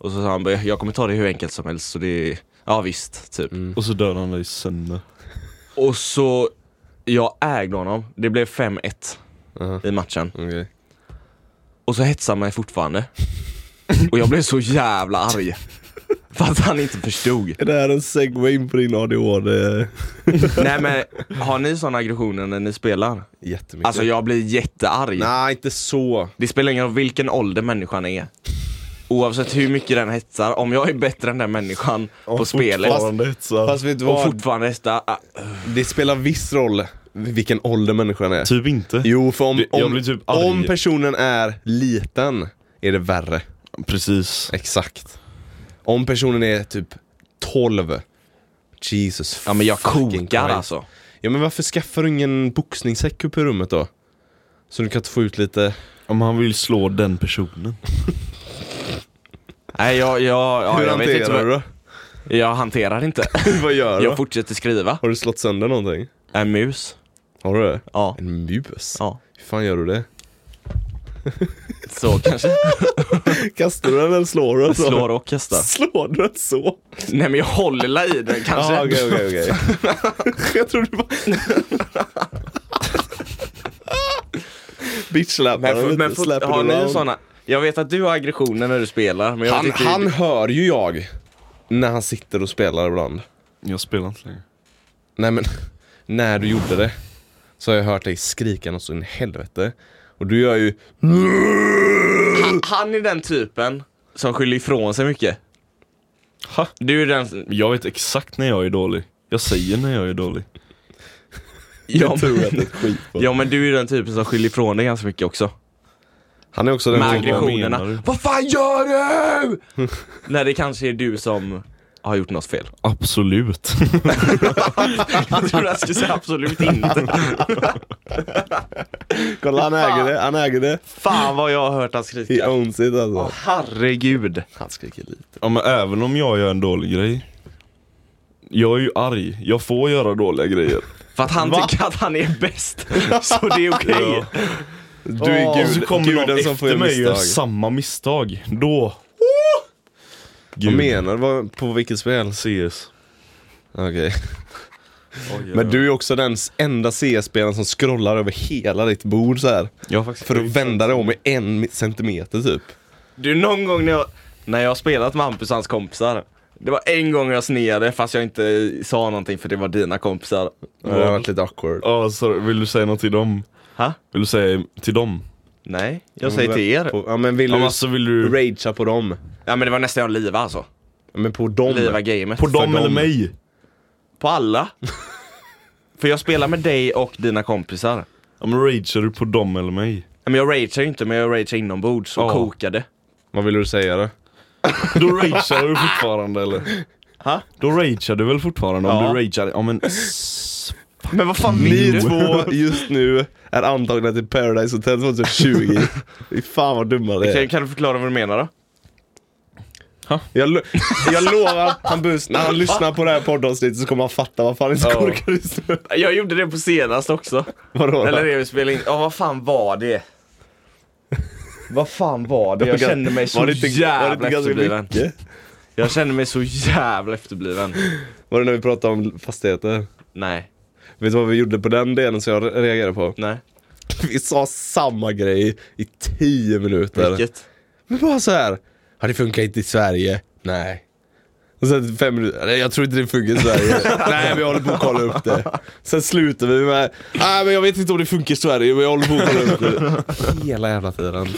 [SPEAKER 2] Och så sa han, jag kommer ta det hur enkelt som helst så det är, ja visst typ.
[SPEAKER 1] Och så dör han dig sönder.
[SPEAKER 2] Och så, jag ägde honom. Det blev 5-1 i matchen.
[SPEAKER 3] Okej.
[SPEAKER 2] Och så hetsar han mig fortfarande. Och jag blev så jävla arg. För att han inte förstod.
[SPEAKER 3] Är det här en segway in på din ADHD?
[SPEAKER 2] Nej men, har ni såna aggressioner när ni spelar?
[SPEAKER 3] Jättemycket.
[SPEAKER 2] Alltså jag blir jättearg.
[SPEAKER 3] Nej, inte så.
[SPEAKER 2] Det spelar ingen roll vilken ålder människan är. Oavsett hur mycket den hetsar, om jag är bättre än den människan på spelet
[SPEAKER 1] Fortfarande så.
[SPEAKER 3] Oh, Fast vet du
[SPEAKER 2] och
[SPEAKER 3] vad?
[SPEAKER 2] fortfarande hetsar, ah,
[SPEAKER 3] Det spelar viss roll vilken ålder människan är.
[SPEAKER 1] Typ inte.
[SPEAKER 3] Jo, för om,
[SPEAKER 1] Det- jag
[SPEAKER 3] om,
[SPEAKER 1] blir typ arg.
[SPEAKER 3] om personen är liten är det värre.
[SPEAKER 1] Precis.
[SPEAKER 3] Exakt. Om personen är typ 12, Jesus
[SPEAKER 2] ja men jag
[SPEAKER 3] fucking
[SPEAKER 2] kokar
[SPEAKER 3] Christ.
[SPEAKER 2] alltså.
[SPEAKER 3] Ja men varför skaffar du ingen boxningssäck upp i rummet då? Så du kan få ut lite...
[SPEAKER 1] Om han vill slå den personen.
[SPEAKER 2] Nej jag, jag, ja,
[SPEAKER 3] Hur
[SPEAKER 2] jag vet inte
[SPEAKER 3] hanterar du
[SPEAKER 2] vad,
[SPEAKER 3] det?
[SPEAKER 2] jag hanterar inte.
[SPEAKER 3] Vad gör du?
[SPEAKER 2] Jag
[SPEAKER 3] då?
[SPEAKER 2] fortsätter skriva.
[SPEAKER 3] Har du slått sönder någonting?
[SPEAKER 2] En mus.
[SPEAKER 3] Har du det?
[SPEAKER 2] Ja.
[SPEAKER 3] En mus?
[SPEAKER 2] ja.
[SPEAKER 3] Hur fan gör du det?
[SPEAKER 2] Så kanske.
[SPEAKER 3] Kastar du den eller slår du den? så?
[SPEAKER 2] Slår och kastar.
[SPEAKER 3] Slår du den så?
[SPEAKER 2] Nej men jag håller la i den kanske.
[SPEAKER 3] Ja, okej, okej, okej. Jag trodde du bara... Bitch-slappar
[SPEAKER 2] Men,
[SPEAKER 3] den
[SPEAKER 2] för, men
[SPEAKER 3] lite,
[SPEAKER 2] för,
[SPEAKER 3] släpper
[SPEAKER 2] har
[SPEAKER 3] den
[SPEAKER 2] ni
[SPEAKER 3] around.
[SPEAKER 2] såna? Jag vet att du har aggressioner när du spelar, men jag
[SPEAKER 3] Han,
[SPEAKER 2] vet inte
[SPEAKER 3] han
[SPEAKER 2] hur-
[SPEAKER 3] hör ju jag när han sitter och spelar ibland.
[SPEAKER 1] Jag spelar inte längre.
[SPEAKER 3] Nej men, när du gjorde det så har jag hört dig skrika något så in i helvete. Och du gör ju...
[SPEAKER 2] han är den typen som skyller ifrån sig mycket. Du är den...
[SPEAKER 1] Jag vet exakt när jag är dålig. Jag säger när jag är dålig.
[SPEAKER 2] Ja, men,
[SPEAKER 1] ett skit på.
[SPEAKER 2] ja, men du är den typen som skiljer ifrån dig ganska mycket också.
[SPEAKER 3] Han är också den
[SPEAKER 2] Med
[SPEAKER 1] vad
[SPEAKER 2] aggressionerna.
[SPEAKER 1] menar du?
[SPEAKER 2] Vad fan gör du? När det kanske är du som har gjort något fel.
[SPEAKER 1] Absolut.
[SPEAKER 2] Jag trodde jag skulle säga absolut inte.
[SPEAKER 3] Kolla han äger det, han äger det.
[SPEAKER 2] Fan vad jag har hört han skrika.
[SPEAKER 3] He owns it alltså.
[SPEAKER 2] Åh, herregud.
[SPEAKER 3] Han skriker lite.
[SPEAKER 1] Ja men även om jag gör en dålig grej Jag är ju arg, jag får göra dåliga grejer
[SPEAKER 2] För att han tycker att han är bäst. Så det är okej.
[SPEAKER 3] Du är
[SPEAKER 1] Och så
[SPEAKER 3] gud,
[SPEAKER 1] kommer någon
[SPEAKER 3] guden som
[SPEAKER 1] efter
[SPEAKER 3] får göra
[SPEAKER 1] mig och gör
[SPEAKER 3] misstag.
[SPEAKER 1] samma misstag, då...
[SPEAKER 3] Vad
[SPEAKER 1] Gud.
[SPEAKER 3] menar du? Vad- På vilket spel?
[SPEAKER 1] CS
[SPEAKER 3] Okej. Men du är också den s- enda CS-spelaren som scrollar över hela ditt bord så här.
[SPEAKER 1] jag faktiskt
[SPEAKER 3] För att vända dig om i en mi- centimeter typ.
[SPEAKER 2] Du någon gång när jag, när jag har spelat med Hampus och hans kompisar. Det var en gång jag sneade fast jag inte sa någonting för det var dina kompisar.
[SPEAKER 3] Det har varit lite awkward.
[SPEAKER 1] Ja, sorry. vill du säga något till dem?
[SPEAKER 2] Ha?
[SPEAKER 1] Vill du säga till dem?
[SPEAKER 2] Nej, jag säger till er.
[SPEAKER 3] På- Ja men vill
[SPEAKER 1] Ja, men
[SPEAKER 3] du
[SPEAKER 1] alltså vill du...
[SPEAKER 3] ragea på dem?
[SPEAKER 2] Ja men det var nästan jag liva alltså.
[SPEAKER 3] Ja, Men på dem?
[SPEAKER 2] Liva gamet.
[SPEAKER 1] På dem eller mig?
[SPEAKER 2] På alla. för jag spelar med dig och dina kompisar.
[SPEAKER 1] Ja men ragear du på dem eller mig?
[SPEAKER 2] Nej, Men jag ragear ju inte men jag ragear inombords och
[SPEAKER 1] Ja.
[SPEAKER 2] kokade.
[SPEAKER 3] Vad vill du säga då?
[SPEAKER 1] Då ragear du fortfarande eller?
[SPEAKER 2] Ha?
[SPEAKER 1] Då ragear du väl fortfarande
[SPEAKER 2] Ja.
[SPEAKER 1] om du ragear? Ja men...
[SPEAKER 2] Men vad fan
[SPEAKER 3] Ni två just nu är antagna till Paradise Hotel 2020. Fy fan vad dumma det
[SPEAKER 2] Kan,
[SPEAKER 3] är.
[SPEAKER 2] kan du förklara vad du menar då?
[SPEAKER 3] Jag, lo- jag lovar Hampus, när han lyssnar på det här poddavsnittet så kommer han fatta vad fan är så korkad just nu.
[SPEAKER 2] Jag gjorde det på senast också.
[SPEAKER 3] Vadå?
[SPEAKER 2] Eller det vi spelade in. Ja, vad fan var det? vad fan var det? Jag kände mig så
[SPEAKER 3] Var det inte- var det
[SPEAKER 2] jävla
[SPEAKER 3] inte ganska
[SPEAKER 2] efterbliven.
[SPEAKER 3] mycket?
[SPEAKER 2] Jag kände mig så jävla efterbliven.
[SPEAKER 3] Var det när vi pratade om fastigheter?
[SPEAKER 2] Nej,
[SPEAKER 3] Vet du vad vi gjorde på den delen som jag re- reagerade på?
[SPEAKER 2] nej.
[SPEAKER 3] Vi sa samma grej i 10 minuter.
[SPEAKER 2] Vilket?
[SPEAKER 3] Men bara så här. Ja, det funkar inte i Sverige. Nej. Och sen fem minuter. Nej, jag tror inte det funkar i Sverige. Nej, vi håller på att kolla upp det. Sen slutar vi med. Nej, men jag vet inte om det funkar i Sverige, men jag håller på att kolla upp det. Hela jävla tiden.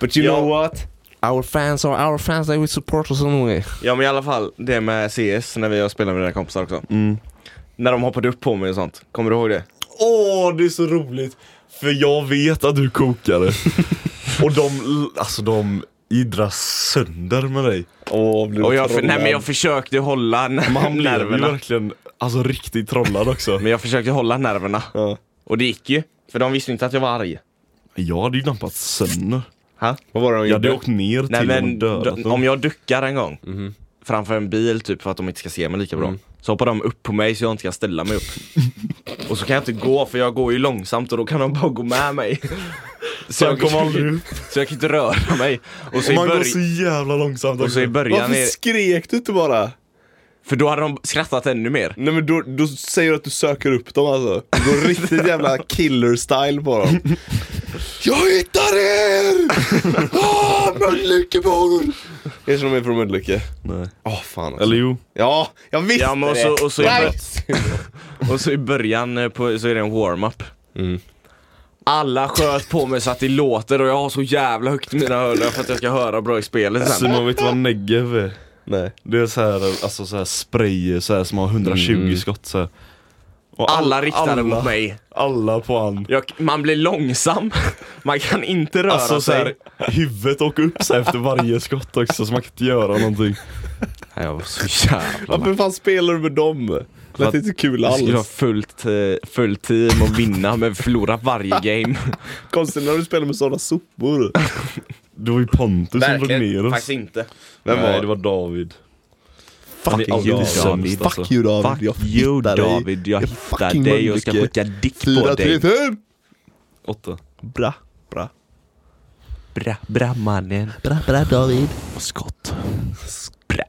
[SPEAKER 3] But you
[SPEAKER 2] Ja.
[SPEAKER 3] know what? Our fans are our fans, they will support us anyway.
[SPEAKER 2] Ja men i alla fall, det med CS när vi har spelat med dina kompisar också.
[SPEAKER 3] Mm.
[SPEAKER 2] När de hoppade upp på mig och sånt. Kommer du ihåg det?
[SPEAKER 1] Åh, det är så roligt! För jag vet att du kokade. och de, alltså de idrar sönder med dig.
[SPEAKER 3] Åh, blir
[SPEAKER 2] Och jag, för, nej men jag försökte hålla
[SPEAKER 1] Men han blev ju
[SPEAKER 2] nerverna.
[SPEAKER 1] verkligen, alltså riktigt trollad också.
[SPEAKER 2] Men jag försökte hålla nerverna.
[SPEAKER 3] Ja.
[SPEAKER 2] Och det gick ju. För de visste inte att jag var arg.
[SPEAKER 1] Jag hade ju dampat sönder.
[SPEAKER 2] Ha?
[SPEAKER 3] Vad var det de
[SPEAKER 1] Jag hade
[SPEAKER 3] gjorde?
[SPEAKER 1] åkt ner
[SPEAKER 2] Nej
[SPEAKER 1] till dem
[SPEAKER 2] men
[SPEAKER 1] och dödat
[SPEAKER 2] d-
[SPEAKER 1] dem.
[SPEAKER 2] om jag duckar en gång
[SPEAKER 1] Mhm.
[SPEAKER 2] framför en bil typ för att de inte ska se mig lika bra.
[SPEAKER 1] Mm.
[SPEAKER 2] Så hoppar de upp på mig så jag inte kan ställa mig upp. och så kan jag inte gå för jag går ju långsamt och då kan de bara gå med mig. så, jag
[SPEAKER 1] kommer aldrig
[SPEAKER 2] kan, så jag kan inte röra mig. Och så, i
[SPEAKER 1] Man går
[SPEAKER 2] börj-
[SPEAKER 1] så jävla långsamt
[SPEAKER 2] och så i
[SPEAKER 1] också.
[SPEAKER 2] början,
[SPEAKER 3] Varför
[SPEAKER 2] är,
[SPEAKER 3] skrek du inte bara?
[SPEAKER 2] för då hade de skrattat ännu mer.
[SPEAKER 3] Nej men då, då säger du att du söker upp dem alltså. Du går riktigt jävla killer-style på dem. Jag hittar er! Ah, Mölnlyckebor! Är som de är från Mölnlycke?
[SPEAKER 1] Nej.
[SPEAKER 3] Åh fan alltså.
[SPEAKER 1] Eller jo.
[SPEAKER 3] Ja, jag visste
[SPEAKER 2] Ja, men och
[SPEAKER 3] det!
[SPEAKER 2] så- och så-
[SPEAKER 3] Nej!
[SPEAKER 2] Och så i början eh, på, så är det en warm-up.
[SPEAKER 1] Mm.
[SPEAKER 2] Alla sköt på mig så att det låter och jag har så jävla högt i mina hörlurar för att jag ska höra bra i spelet sen.
[SPEAKER 1] Simon vet du vad negev är?
[SPEAKER 3] Nej.
[SPEAKER 1] Det är så här, alltså så här spray så här, som har 120 skott så här. Och all-
[SPEAKER 2] Alla riktade
[SPEAKER 1] alla,
[SPEAKER 2] mot mig.
[SPEAKER 1] Alla på han.
[SPEAKER 2] Jag, man blir långsam, man kan inte röra
[SPEAKER 1] Alltså så
[SPEAKER 2] sig.
[SPEAKER 1] här, huvudet åker upp så här efter varje skott också så man kan inte göra någonting.
[SPEAKER 2] Nej, jag var så jävla
[SPEAKER 3] Varför fan spelar du med dem? Lät inte kul
[SPEAKER 2] Jag skulle ha
[SPEAKER 3] alls.
[SPEAKER 2] fullt, eh, fullt team och vinna men förlora varje game.
[SPEAKER 3] Konstigt när du spelar med sådana sopor.
[SPEAKER 1] Det var ju Pontus som drog ner oss.
[SPEAKER 2] Faktiskt inte.
[SPEAKER 3] Vem
[SPEAKER 1] Nej
[SPEAKER 3] var
[SPEAKER 1] det
[SPEAKER 3] det?
[SPEAKER 1] var David.
[SPEAKER 3] Fucking
[SPEAKER 1] alltid
[SPEAKER 3] David.
[SPEAKER 1] sämst, alltså.
[SPEAKER 3] Fuck you David,
[SPEAKER 2] Fuck
[SPEAKER 3] jag
[SPEAKER 2] you
[SPEAKER 3] hittar dig.
[SPEAKER 2] David, jag
[SPEAKER 3] Jag
[SPEAKER 2] hittar
[SPEAKER 3] fucking
[SPEAKER 2] dig och ska
[SPEAKER 3] Mölnlycke.
[SPEAKER 2] skicka dick på
[SPEAKER 3] Fyra,
[SPEAKER 2] dig.
[SPEAKER 3] tre, fem!
[SPEAKER 1] Åtta.
[SPEAKER 3] Bra, bra.
[SPEAKER 2] Bra, bra mannen.
[SPEAKER 10] Bra, bra David.
[SPEAKER 2] Skott. Bra.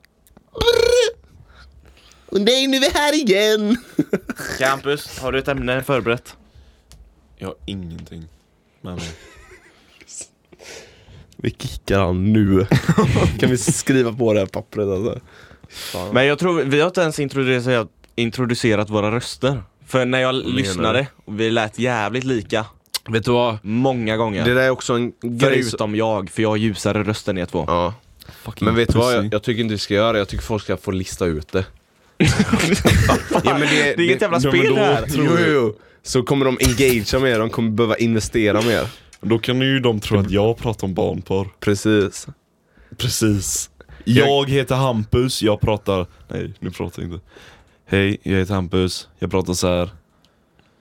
[SPEAKER 10] Och nej, nu är vi här igen.
[SPEAKER 2] Campus, har du ett ämne förberett?
[SPEAKER 1] Jag har ingenting. Men,
[SPEAKER 3] Vi kickar han nu. kan vi skriva på det här pappret alltså?
[SPEAKER 2] Men jag tror, vi har inte ens introducerat, introducerat våra röster. För när jag lyssnade, och vi lät jävligt lika.
[SPEAKER 11] Vet du vad?
[SPEAKER 2] Många gånger.
[SPEAKER 3] där är också en grej
[SPEAKER 2] Förutom jag, för jag har ljusare röst än er två.
[SPEAKER 3] Ja.
[SPEAKER 1] Fucking
[SPEAKER 3] Men vet du vad,
[SPEAKER 1] pussy.
[SPEAKER 3] jag, jag tycker inte vi ska göra det. Jag tycker folk ska få lista ut det. ja, men
[SPEAKER 2] Det är inget jävla
[SPEAKER 1] Ja, men
[SPEAKER 2] spel
[SPEAKER 1] då-
[SPEAKER 2] det här!
[SPEAKER 3] Jo, jo, jo. Så kommer de engagea mer, de kommer behöva investera mer.
[SPEAKER 1] Då kan ju de tro att jag pratar om barnporr.
[SPEAKER 3] Precis.
[SPEAKER 1] Precis. Jag heter Hampus, jag pratar... Nej, nu pratar jag inte. Hej, jag heter Hampus, jag pratar så här.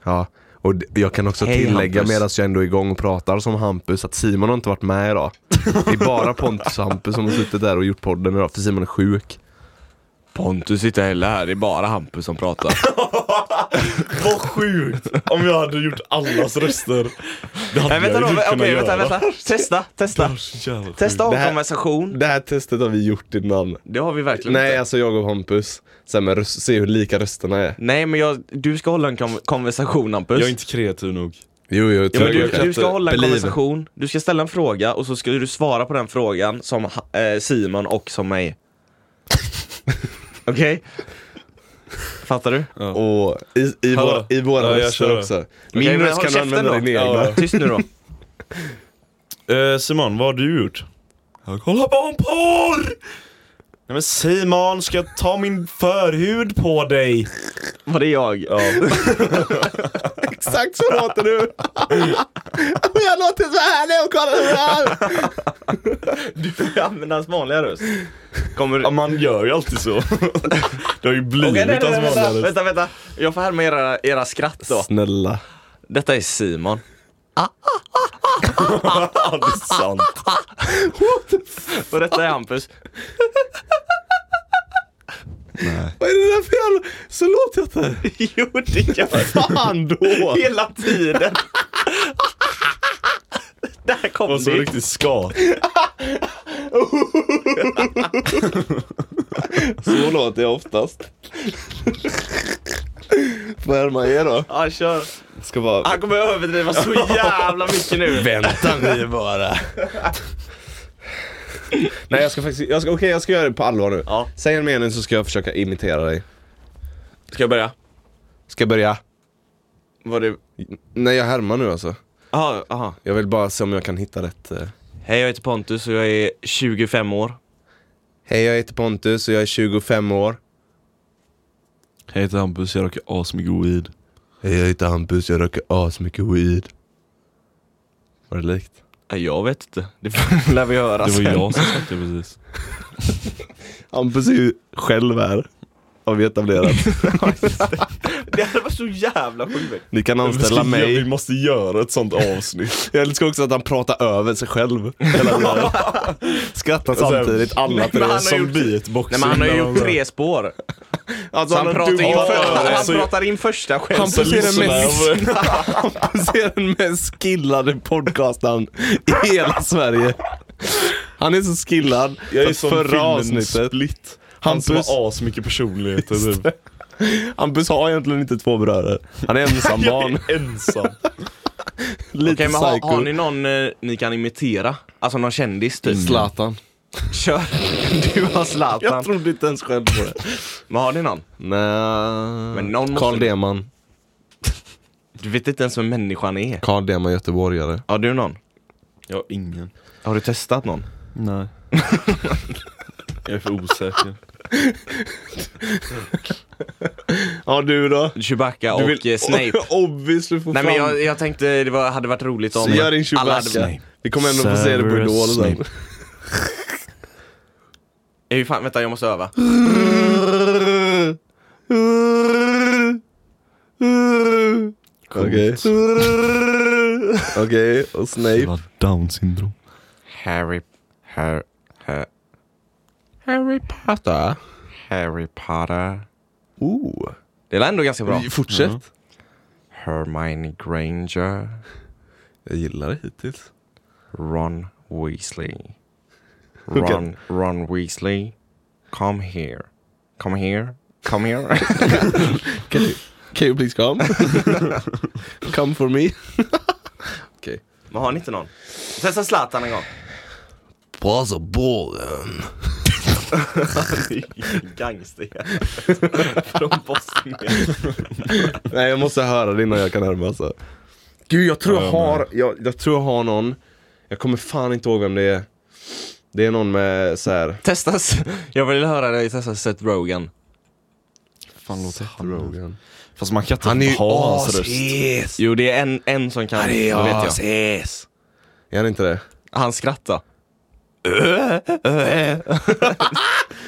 [SPEAKER 3] Ja. Och d- jag kan också
[SPEAKER 2] Hej,
[SPEAKER 3] tillägga
[SPEAKER 2] Hampus.
[SPEAKER 3] medan jag ändå är igång och pratar som Hampus att Simon har inte varit med idag. Det är bara Pontus och Hampus som har suttit där och gjort podden idag för Simon är sjuk.
[SPEAKER 2] Pontus sitter heller här, det är bara Hampus som pratar.
[SPEAKER 1] Vad sjukt! Om jag hade gjort allas röster. Det hade
[SPEAKER 2] Nej vänta
[SPEAKER 1] jag
[SPEAKER 2] då,
[SPEAKER 1] ju
[SPEAKER 2] okej
[SPEAKER 1] kunnat
[SPEAKER 2] vänta,
[SPEAKER 1] göra.
[SPEAKER 2] vänta. Testa,
[SPEAKER 1] Det
[SPEAKER 2] testa.
[SPEAKER 1] var så jävla
[SPEAKER 2] Testa
[SPEAKER 3] Det här-
[SPEAKER 2] avkonversation.
[SPEAKER 3] Det här testet har vi gjort innan.
[SPEAKER 2] Det har vi verkligen
[SPEAKER 3] Nej,
[SPEAKER 2] inte.
[SPEAKER 3] alltså jag och Hampus. Sen med röst, se hur lika rösterna är.
[SPEAKER 2] Nej men jag, du ska hålla en kom- konversation Hampus.
[SPEAKER 1] Jag är inte kreativ nog.
[SPEAKER 3] Jo, jo, jag
[SPEAKER 2] Ja, men
[SPEAKER 3] tror
[SPEAKER 2] du,
[SPEAKER 3] jag.
[SPEAKER 2] du ska hålla en
[SPEAKER 3] Believe.
[SPEAKER 2] konversation, du ska ställa en fråga och så ska du svara på den frågan som ha- eh, Simon och som mig. Okej? Fattar du?
[SPEAKER 3] Och i, i,
[SPEAKER 1] Hallå.
[SPEAKER 3] våra, i våra
[SPEAKER 1] Ja, jag kör.
[SPEAKER 3] röster också. Min
[SPEAKER 2] Okej, men
[SPEAKER 3] röst
[SPEAKER 2] håll
[SPEAKER 3] kan du
[SPEAKER 2] käften
[SPEAKER 3] använda
[SPEAKER 2] då.
[SPEAKER 3] din egna.
[SPEAKER 1] Ja.
[SPEAKER 2] Tyst nu då.
[SPEAKER 1] Eh, Simon, vad har du gjort? Jag kollar barnporr! Nej men Simon, ska jag ta min förhud på dig?
[SPEAKER 2] Var det jag?
[SPEAKER 3] Exakt så låter du! jag låter så här när jag kollar
[SPEAKER 2] Använda hans vanliga röst. Kommer du...
[SPEAKER 1] Ja, man gör ju alltid så. det har ju
[SPEAKER 2] Okej,
[SPEAKER 1] blivit
[SPEAKER 2] nej, nej, nej,
[SPEAKER 1] hans
[SPEAKER 2] vänta,
[SPEAKER 1] vanliga röst.
[SPEAKER 2] vänta, vänta. Jag får härma era, era skratt då.
[SPEAKER 3] Snälla.
[SPEAKER 2] Detta är Simon.
[SPEAKER 1] Ja, det är sant.
[SPEAKER 2] Och detta är Hampus.
[SPEAKER 3] Vad är det där för jävla... Så låter jag inte.
[SPEAKER 2] jo, det gör
[SPEAKER 3] Fan då!
[SPEAKER 2] Hela tiden. Där kom
[SPEAKER 1] Och så
[SPEAKER 2] det.
[SPEAKER 1] riktigt skat.
[SPEAKER 3] Så låter jag oftast. Får jag härma er då? Ah.
[SPEAKER 2] Ja, kör.
[SPEAKER 3] Ska bara...
[SPEAKER 2] Han kommer överdriva så jävla mycket nu.
[SPEAKER 3] Vänta ni bara. Nej jag ska faktiskt, jag ska, okej jag ska göra det på allvar nu.
[SPEAKER 2] Ja.
[SPEAKER 3] Säg en mening så ska jag försöka imitera dig.
[SPEAKER 2] Ska jag börja?
[SPEAKER 3] Ska jag börja?
[SPEAKER 2] Var det...
[SPEAKER 3] Nej jag härmar nu alltså.
[SPEAKER 2] Aha, aha.
[SPEAKER 3] Jag vill bara se om jag kan hitta rätt. eh.
[SPEAKER 2] Hej, jag heter Pontus och jag är 25 år.
[SPEAKER 3] Hej jag heter Pontus och jag är 25 år.
[SPEAKER 1] Jag heter Hampus, jag röker asmycket weed.
[SPEAKER 3] Hej jag heter Hampus, jag röker asmycket weed. Var det likt?
[SPEAKER 2] Ja, Jag vet inte. Det får- lär vi höra
[SPEAKER 1] Det var
[SPEAKER 2] sen.
[SPEAKER 1] jag som sagt det precis.
[SPEAKER 3] Hampus är ju själv här. Har vi etablerat.
[SPEAKER 2] Det hade varit så jävla sjukt.
[SPEAKER 3] Ni kan anställa
[SPEAKER 1] Vi
[SPEAKER 3] mig.
[SPEAKER 1] måste göra ett sånt avsnitt.
[SPEAKER 3] Jag älskar också att han pratar över sig själv. Hela tiden. Skrattar samtidigt, alla
[SPEAKER 2] Men han har
[SPEAKER 3] tre.
[SPEAKER 1] Eh, Som
[SPEAKER 2] gjort-
[SPEAKER 1] beatboxing.
[SPEAKER 2] Nej, men han har ju
[SPEAKER 1] när
[SPEAKER 2] gjort tre spår. Så
[SPEAKER 3] Alltså,
[SPEAKER 2] han,
[SPEAKER 3] har
[SPEAKER 2] pratar
[SPEAKER 3] dubbla
[SPEAKER 2] in,
[SPEAKER 3] öron.
[SPEAKER 2] för, han
[SPEAKER 1] alltså-
[SPEAKER 2] pratar in första själv.
[SPEAKER 3] Han
[SPEAKER 1] Så
[SPEAKER 3] ser den
[SPEAKER 1] lyssnar
[SPEAKER 3] mest Hampus är den mest skillade podcastaren i hela Sverige. Han är så skillad.
[SPEAKER 1] Jag är
[SPEAKER 3] att
[SPEAKER 1] som
[SPEAKER 3] förra
[SPEAKER 1] filmen
[SPEAKER 3] avsnittet.
[SPEAKER 1] Split. Han som
[SPEAKER 3] Hampus,
[SPEAKER 1] har asmycket personligheter typ.
[SPEAKER 3] Hampus har egentligen inte två bröder. Han är ensam
[SPEAKER 1] Jag
[SPEAKER 3] barn.
[SPEAKER 1] är ensam.
[SPEAKER 3] Lite
[SPEAKER 2] Okej, men har,
[SPEAKER 3] psycho.
[SPEAKER 2] har ni någon eh, ni kan imitera? Alltså någon kändis
[SPEAKER 3] Mm.
[SPEAKER 2] typ?
[SPEAKER 3] Zlatan.
[SPEAKER 2] Kör. Du har
[SPEAKER 3] Jag
[SPEAKER 2] Zlatan.
[SPEAKER 3] trodde inte ens själv på det.
[SPEAKER 2] Men har ni någon?
[SPEAKER 3] Nej.
[SPEAKER 2] Men någon
[SPEAKER 3] Carl
[SPEAKER 2] måste-
[SPEAKER 3] Deman.
[SPEAKER 2] Du vet inte ens vem människan är.
[SPEAKER 3] Carl Deman, göteborgare.
[SPEAKER 2] Har du någon?
[SPEAKER 1] Jag har ingen.
[SPEAKER 2] Har du testat någon?
[SPEAKER 1] Nej. jag är för osäker.
[SPEAKER 3] Ja, du då?
[SPEAKER 2] Chewbacca och eh, Snape.
[SPEAKER 3] Obviously för
[SPEAKER 2] Nej
[SPEAKER 3] fan.
[SPEAKER 2] men jag, jag tänkte det var, hade varit roligt om
[SPEAKER 3] Gör din
[SPEAKER 2] alla
[SPEAKER 3] Chewbacca.
[SPEAKER 2] hade... Nej.
[SPEAKER 3] Vi kommer ändå få se det på
[SPEAKER 1] Severus
[SPEAKER 3] Idol sen.
[SPEAKER 1] Snape.
[SPEAKER 2] Jag är ju fan, vänta jag måste öva.
[SPEAKER 3] Okej. Okej, och Snape.
[SPEAKER 1] Jävla down syndrom.
[SPEAKER 2] Harry... Harry... Harry
[SPEAKER 3] Fatta.
[SPEAKER 2] Harry Potter.
[SPEAKER 3] Oh.
[SPEAKER 2] Det lät ändå ganska bra.
[SPEAKER 3] Fortsätt.
[SPEAKER 2] Hermione Granger.
[SPEAKER 3] Jag gillar det hittills.
[SPEAKER 2] Ron Weasley. Ron, Ron Weasley. Come here. Come here. Come here.
[SPEAKER 3] Can you please come? come for me. Okej.
[SPEAKER 2] Men har ni inte någon? Testa Zlatan en gång.
[SPEAKER 3] Passa bollen.
[SPEAKER 2] Gangster. Från Bosnien.
[SPEAKER 3] Nej, jag måste höra det innan jag kan härma alltså. Gud, jag tror jag har, jag, jag tror jag har någon. Jag kommer fan inte ihåg vem det är. Det är någon med så här.
[SPEAKER 2] Testas. Jag vill höra dig testa Seth Rogen.
[SPEAKER 1] Fan låter Seth
[SPEAKER 3] Rogen.
[SPEAKER 1] Fast man kan inte ha hans röst.
[SPEAKER 2] ashes. Jo, det är en, en som kan. Han är det vet jag.
[SPEAKER 3] Är han inte det?
[SPEAKER 2] Han skrattar.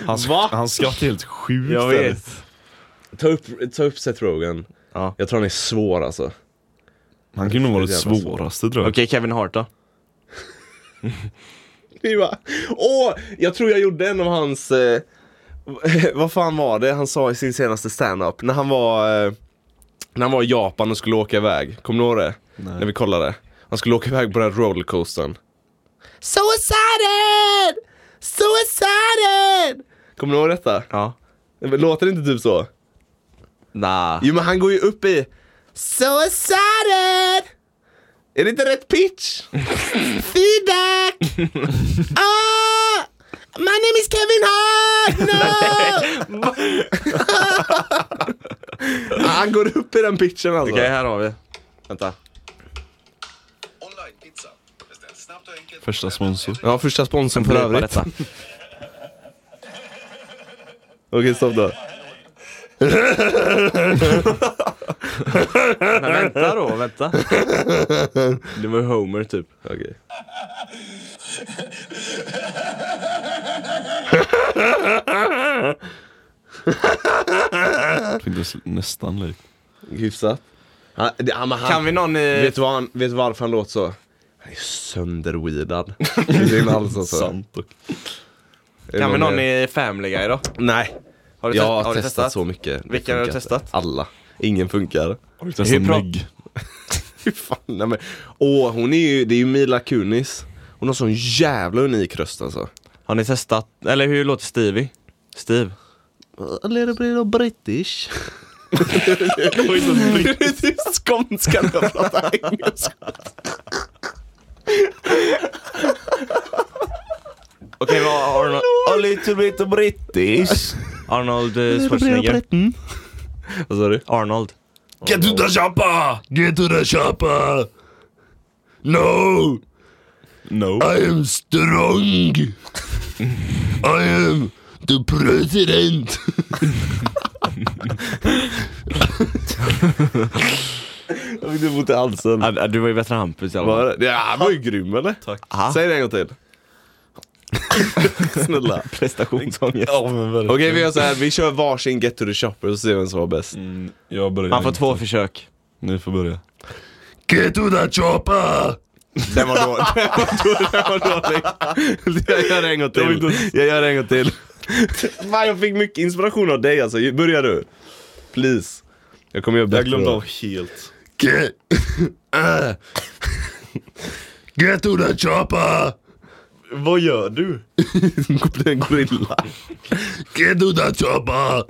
[SPEAKER 1] Hans, hans skratt är helt sjukt.
[SPEAKER 2] Jag
[SPEAKER 1] eller?
[SPEAKER 2] vet.
[SPEAKER 3] Ta upp, ta upp Seth Rogen.
[SPEAKER 2] Ja.
[SPEAKER 3] Jag tror han är svår alltså.
[SPEAKER 1] Han kunde nog vara det
[SPEAKER 3] Jävla svårt.
[SPEAKER 1] svåraste tror jag.
[SPEAKER 2] Okej, Kevin Hart då?
[SPEAKER 3] Vi bara, åh, jag tror jag gjorde en av hans, eh, vad fan var det han sa i sin senaste standup? När han var, eh, när han var i Japan och skulle åka iväg, kommer du ihåg det? När vi kollade. Han skulle åka iväg på den här rollercoastern. Suicided! Suicided! Kommer du ihåg detta?
[SPEAKER 2] Ja.
[SPEAKER 3] Låter det inte typ så?
[SPEAKER 2] Nah.
[SPEAKER 3] Jo men han går ju upp i Suicided! Är det inte rätt pitch? Feedback! ah! My name is Kevin Hart! No! Ah, han går upp i den pitchen alltså.
[SPEAKER 2] Okej, här har vi. Vänta.
[SPEAKER 1] Första sponsor.
[SPEAKER 3] Ja, första sponsorn för
[SPEAKER 2] Klippa
[SPEAKER 3] övrigt.
[SPEAKER 2] detta.
[SPEAKER 3] Okej, stopp då.
[SPEAKER 2] Men vänta då, vänta. Det var ju Homer typ.
[SPEAKER 3] Okej.
[SPEAKER 1] Fick det nästan likt.
[SPEAKER 3] Hyfsat. Han, det- han, han,
[SPEAKER 2] Kan vi någon i...
[SPEAKER 3] vet, du vad han, vet du varför han låter så? Han är sönderweedad. I sin hals alltså.
[SPEAKER 1] Sant och.
[SPEAKER 3] Är det
[SPEAKER 2] Kan vi någon
[SPEAKER 3] mer?
[SPEAKER 2] i Family Guy då?
[SPEAKER 3] Nej.
[SPEAKER 2] Har du,
[SPEAKER 3] jag
[SPEAKER 2] test-
[SPEAKER 3] har,
[SPEAKER 2] har du
[SPEAKER 3] testat, så mycket. Det
[SPEAKER 2] Vilka har du
[SPEAKER 3] funkar inte.
[SPEAKER 2] testat?
[SPEAKER 3] Alla. Ingen funkar.
[SPEAKER 1] Har du testat
[SPEAKER 2] Hur pra-
[SPEAKER 1] Meg?
[SPEAKER 3] Fy fan, nej men. Åh, hon är ju, det är ju Mila Kunis. Hon har sån jävla unik röst alltså.
[SPEAKER 2] Har ni testat? Eller hur låter Stevie? Steve?
[SPEAKER 3] A little bit of British. Det är typ skånska när jag pratar engelska.
[SPEAKER 2] Okej, vad har du
[SPEAKER 3] A little bit of British.
[SPEAKER 2] Arnold eh, Schwarzenegger?
[SPEAKER 3] Vad sa du?
[SPEAKER 2] Arnold.
[SPEAKER 3] Get to the shoppa! Get to the shoppa! No!
[SPEAKER 1] No.
[SPEAKER 5] Oh, I am strong. I am the president.
[SPEAKER 3] Jag fick typ ont i halsen.
[SPEAKER 2] Ah, ah, Du var ju bättre än Hampus i alla fall.
[SPEAKER 3] Var det? Ja, han var ju grym eller?
[SPEAKER 2] Aha.
[SPEAKER 3] Säg det en gång till. Snälla.
[SPEAKER 2] Prestationsångest.
[SPEAKER 1] Ja men verkligen.
[SPEAKER 3] Okej vi gör så här, vi kör varsin Get to the shopper så ser vi vem som var bäst.
[SPEAKER 1] Mm, jag börjar.
[SPEAKER 2] Han får
[SPEAKER 1] inte.
[SPEAKER 2] två försök.
[SPEAKER 1] Ni får börja.
[SPEAKER 5] Get to the chopper.
[SPEAKER 3] Den var dålig. Den var dålig. Den var dålig. Jag gör det en gång till. Jag gör det en gång till. Fan jag fick mycket inspiration av dig alltså. Börja du. Please. Jag kommer göra bättre.
[SPEAKER 1] Jag glömde
[SPEAKER 3] då.
[SPEAKER 1] av helt.
[SPEAKER 5] Get. Ah. Get to the chopper.
[SPEAKER 1] Vad gör du?
[SPEAKER 3] Det är en gorilla.
[SPEAKER 5] Get to the chopper.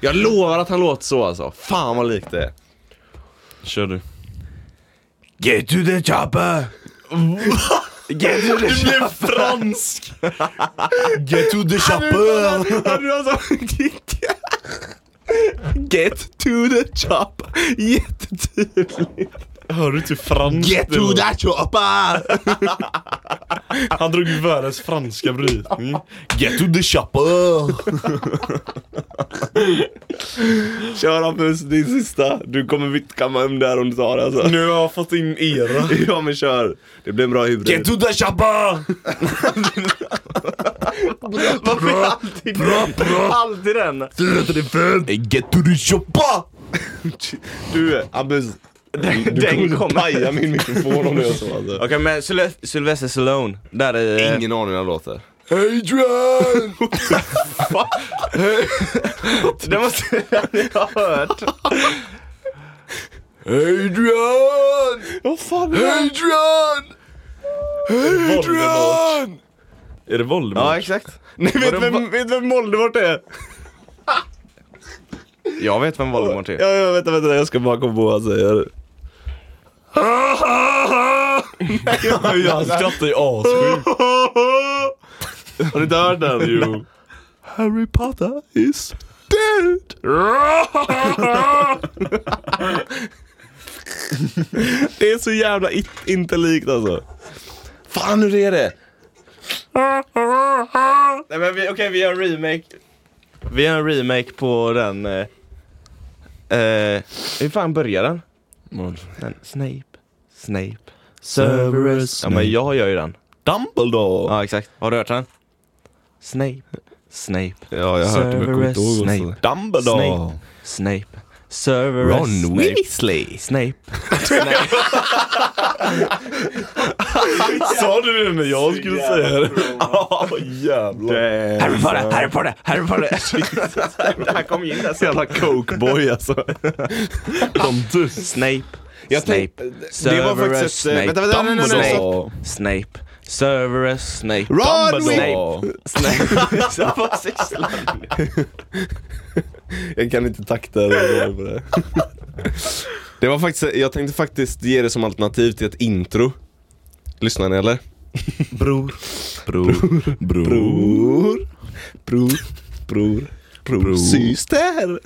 [SPEAKER 3] Jag lovar att han låter så alltså. Fan vad likt det är.
[SPEAKER 1] Kör du.
[SPEAKER 2] Get to the chopper! Get to the chopper!
[SPEAKER 1] Fransk! Get to the shopper!
[SPEAKER 3] Hade du alltså Get to the chop. Jättetydligt.
[SPEAKER 1] Hör du inte fransk?
[SPEAKER 5] Get to the chopper.
[SPEAKER 1] Han drog ju världens franska brytning.
[SPEAKER 5] Get to the chopper.
[SPEAKER 3] Kör Hampus, din sista. Du kommer vittkamma hem där om du tar det alltså.
[SPEAKER 1] Nu har jag fått in era.
[SPEAKER 3] Ja men kör. Det blir en bra hybrid.
[SPEAKER 5] Get to the chopper.
[SPEAKER 2] Varför är alltid
[SPEAKER 5] Bra, bra.
[SPEAKER 2] Alltid den!
[SPEAKER 5] 435. Get to the chopper.
[SPEAKER 3] Du Hampus. Den, du
[SPEAKER 2] den
[SPEAKER 3] kommer
[SPEAKER 2] kommer.
[SPEAKER 3] paja min mikrofon om du gör så alltså.
[SPEAKER 2] Okej men Syl- Sylvester Stallone, där i... eh,
[SPEAKER 3] Ingen aning hur han låter.
[SPEAKER 5] Adrian.
[SPEAKER 2] Det måste jag ha hört.
[SPEAKER 5] Adrian.
[SPEAKER 1] Vad fan är det?
[SPEAKER 5] Adrian.
[SPEAKER 1] Voldemort?
[SPEAKER 5] Adrian.
[SPEAKER 1] Är det Voldemort?
[SPEAKER 3] exakt. Ni vet vem, vet vem Voldemort är?
[SPEAKER 2] Jag vet vem Voldemort är.
[SPEAKER 3] Ja, ja, vänta, vänta, jag ska bara komma på vad han säger.
[SPEAKER 1] Han skrattar ju assjukt.
[SPEAKER 3] Har du inte hört den? Jo.
[SPEAKER 5] Harry Potter is dead.
[SPEAKER 3] Det är så jävla it- inte likt alltså. Fan hur är det?
[SPEAKER 2] Nej men vi- okej vi gör en remake. Vi gör en remake på den... Eh, eh, hur fan börjar den? den? Snape, Snape, Cerberus. Ja men jag gör ju den.
[SPEAKER 1] Dumbledore!
[SPEAKER 2] Ja exakt. Har du hört den? Snape, Snape,
[SPEAKER 12] Ja, jag har hört det men jag kommer inte
[SPEAKER 2] Cerberus,
[SPEAKER 12] ihåg.
[SPEAKER 2] Snape,
[SPEAKER 12] alltså.
[SPEAKER 1] Dumbledore!
[SPEAKER 2] Snape. Snape, Cerberus, Snape.
[SPEAKER 12] Weasley!
[SPEAKER 2] Snape.
[SPEAKER 1] Sa du det när jag skulle säga det? Ja, jävlar.
[SPEAKER 2] Harry Potter, Harry Potter, Harry Potter. Han kom in där så jävla
[SPEAKER 1] Cokeboy alltså. De dus.
[SPEAKER 2] Snape,
[SPEAKER 3] Jag
[SPEAKER 2] Snape,
[SPEAKER 3] tänk- det var
[SPEAKER 2] Cerberus,
[SPEAKER 3] faktiskt ett... eh,
[SPEAKER 2] Snape,
[SPEAKER 3] Vänta, vänta, nej, nej, nej, nej.
[SPEAKER 1] Dumbledore.
[SPEAKER 2] Snape, Cerberus, Snape.
[SPEAKER 1] Dumbledore.
[SPEAKER 2] Snape. Så vad sysslar
[SPEAKER 3] Jag kan inte takta eller på det. det var faktiskt, jag tänkte faktiskt ge det som alternativ till ett intro. Lyssnar ni eller?
[SPEAKER 1] Bror. Bror. Bror.
[SPEAKER 3] Bror, bror, bror, bror, syster.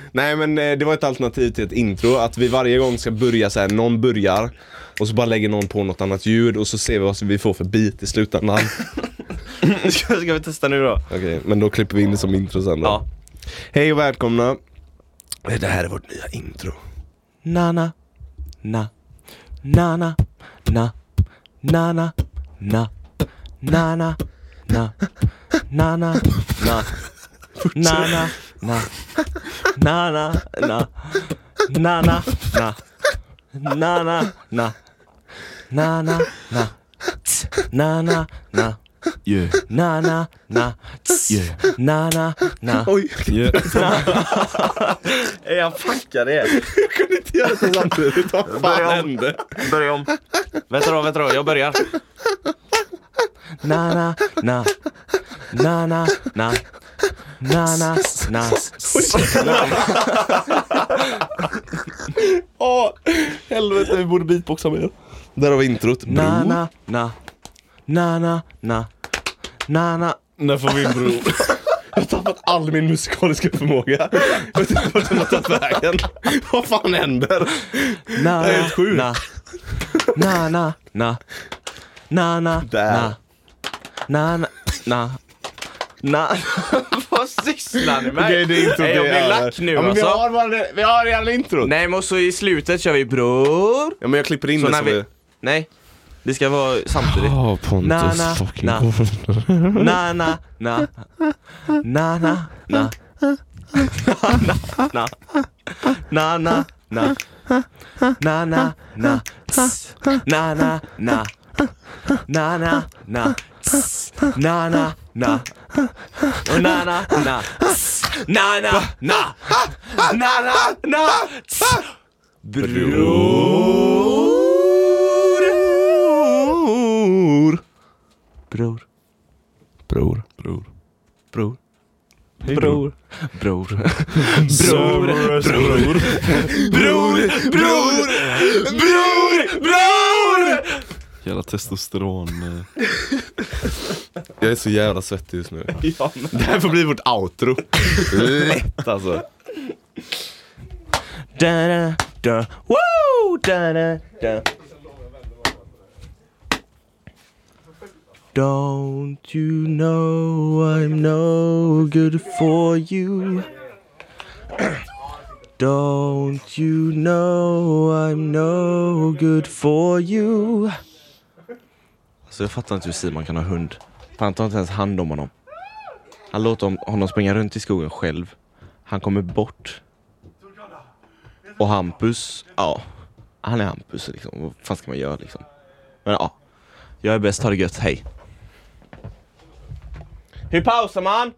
[SPEAKER 3] Nej men eh, det var ett alternativ till ett intro, att vi varje gång ska börja så här, någon börjar och så bara lägger någon på något annat ljud och så ser vi vad vi får för bit i slutändan.
[SPEAKER 2] ni? Ska ska vi testa nu då?
[SPEAKER 3] Okej, men då klipper vi in det som intro sen då.
[SPEAKER 2] Ja.
[SPEAKER 3] Hej och välkomna. Eh, Det här är vårt nya intro.
[SPEAKER 2] Nana, na, nana, na, nana, na, nana, na, nana, na, nana, na, nana, na, nana, na, nana, na, nana, na, tss, nana, na,
[SPEAKER 1] Yeah.
[SPEAKER 2] nana, na, tss,
[SPEAKER 1] Yeah.
[SPEAKER 2] nana, na.
[SPEAKER 3] Oj,
[SPEAKER 1] Yeah.
[SPEAKER 2] Jag fuckade er.
[SPEAKER 3] gör det samtidigt. Vad fan hände?
[SPEAKER 2] Börja om. Vänta då, vänta då, jag börjar. Na na na na na na na na na
[SPEAKER 3] Åh, helvete vi borde beatboxa mer. Där har vi introt.
[SPEAKER 2] na na na na na na na na
[SPEAKER 1] När får vi en bror?
[SPEAKER 3] Jag har tappat all min musikaliska förmåga. Jag vet inte vart den har tagit vägen. Vad fan händer?
[SPEAKER 2] na
[SPEAKER 3] Det är helt sjukt.
[SPEAKER 2] na na na na na na
[SPEAKER 3] Där.
[SPEAKER 2] na na na na na Vad sysslar ni med?
[SPEAKER 3] Okej, det är introt
[SPEAKER 2] Nej, jag
[SPEAKER 3] det
[SPEAKER 2] blir
[SPEAKER 3] är.
[SPEAKER 2] lack nu
[SPEAKER 3] ja, men vi,
[SPEAKER 2] alltså.
[SPEAKER 3] har bara det, vi har redan introt.
[SPEAKER 2] Nej men så i slutet kör vi bror.
[SPEAKER 3] Ja, men jag klipper in
[SPEAKER 2] Så
[SPEAKER 3] det
[SPEAKER 2] när
[SPEAKER 3] som vi...
[SPEAKER 2] vi... Nej. Det ska vara samtidigt.
[SPEAKER 12] Ja, Pontus
[SPEAKER 2] Na, na,
[SPEAKER 12] fucking
[SPEAKER 2] na. Na, na, na. Na, na, na. Na, na, na. Na, na, na. Na, na, na. Tss. Na, na, na. Na, na, na. Tss. Na, na, na. Na, na, na. Tss. Na, na, na. Na, na, na. Tss. Bror. Bror.
[SPEAKER 12] Bror.
[SPEAKER 2] Bror. Bror. Bror. Bror.
[SPEAKER 1] Bror. Bror.
[SPEAKER 2] Bror. Bror. Bror. Bror.
[SPEAKER 1] Jävla testosteron. eh.
[SPEAKER 3] Jag är så jävla svettig just nu. Det här får bli vårt outro. Lätt alltså.
[SPEAKER 2] Da, da, da. Woo! Da, da, da. Don't you know I'm no good for you? Don't you know I'm no good for you? Alltså jag fattar inte hur Simon kan ha hund. Han tar inte ens hand om honom. Han låter hon- honom springa runt i skogen själv. Han kommer bort. Och Hampus, ja. Han är Hampus liksom. Vad fan ska man göra liksom? Men ja. Jag är bäst, ha det gött, hej. Hur pausar man?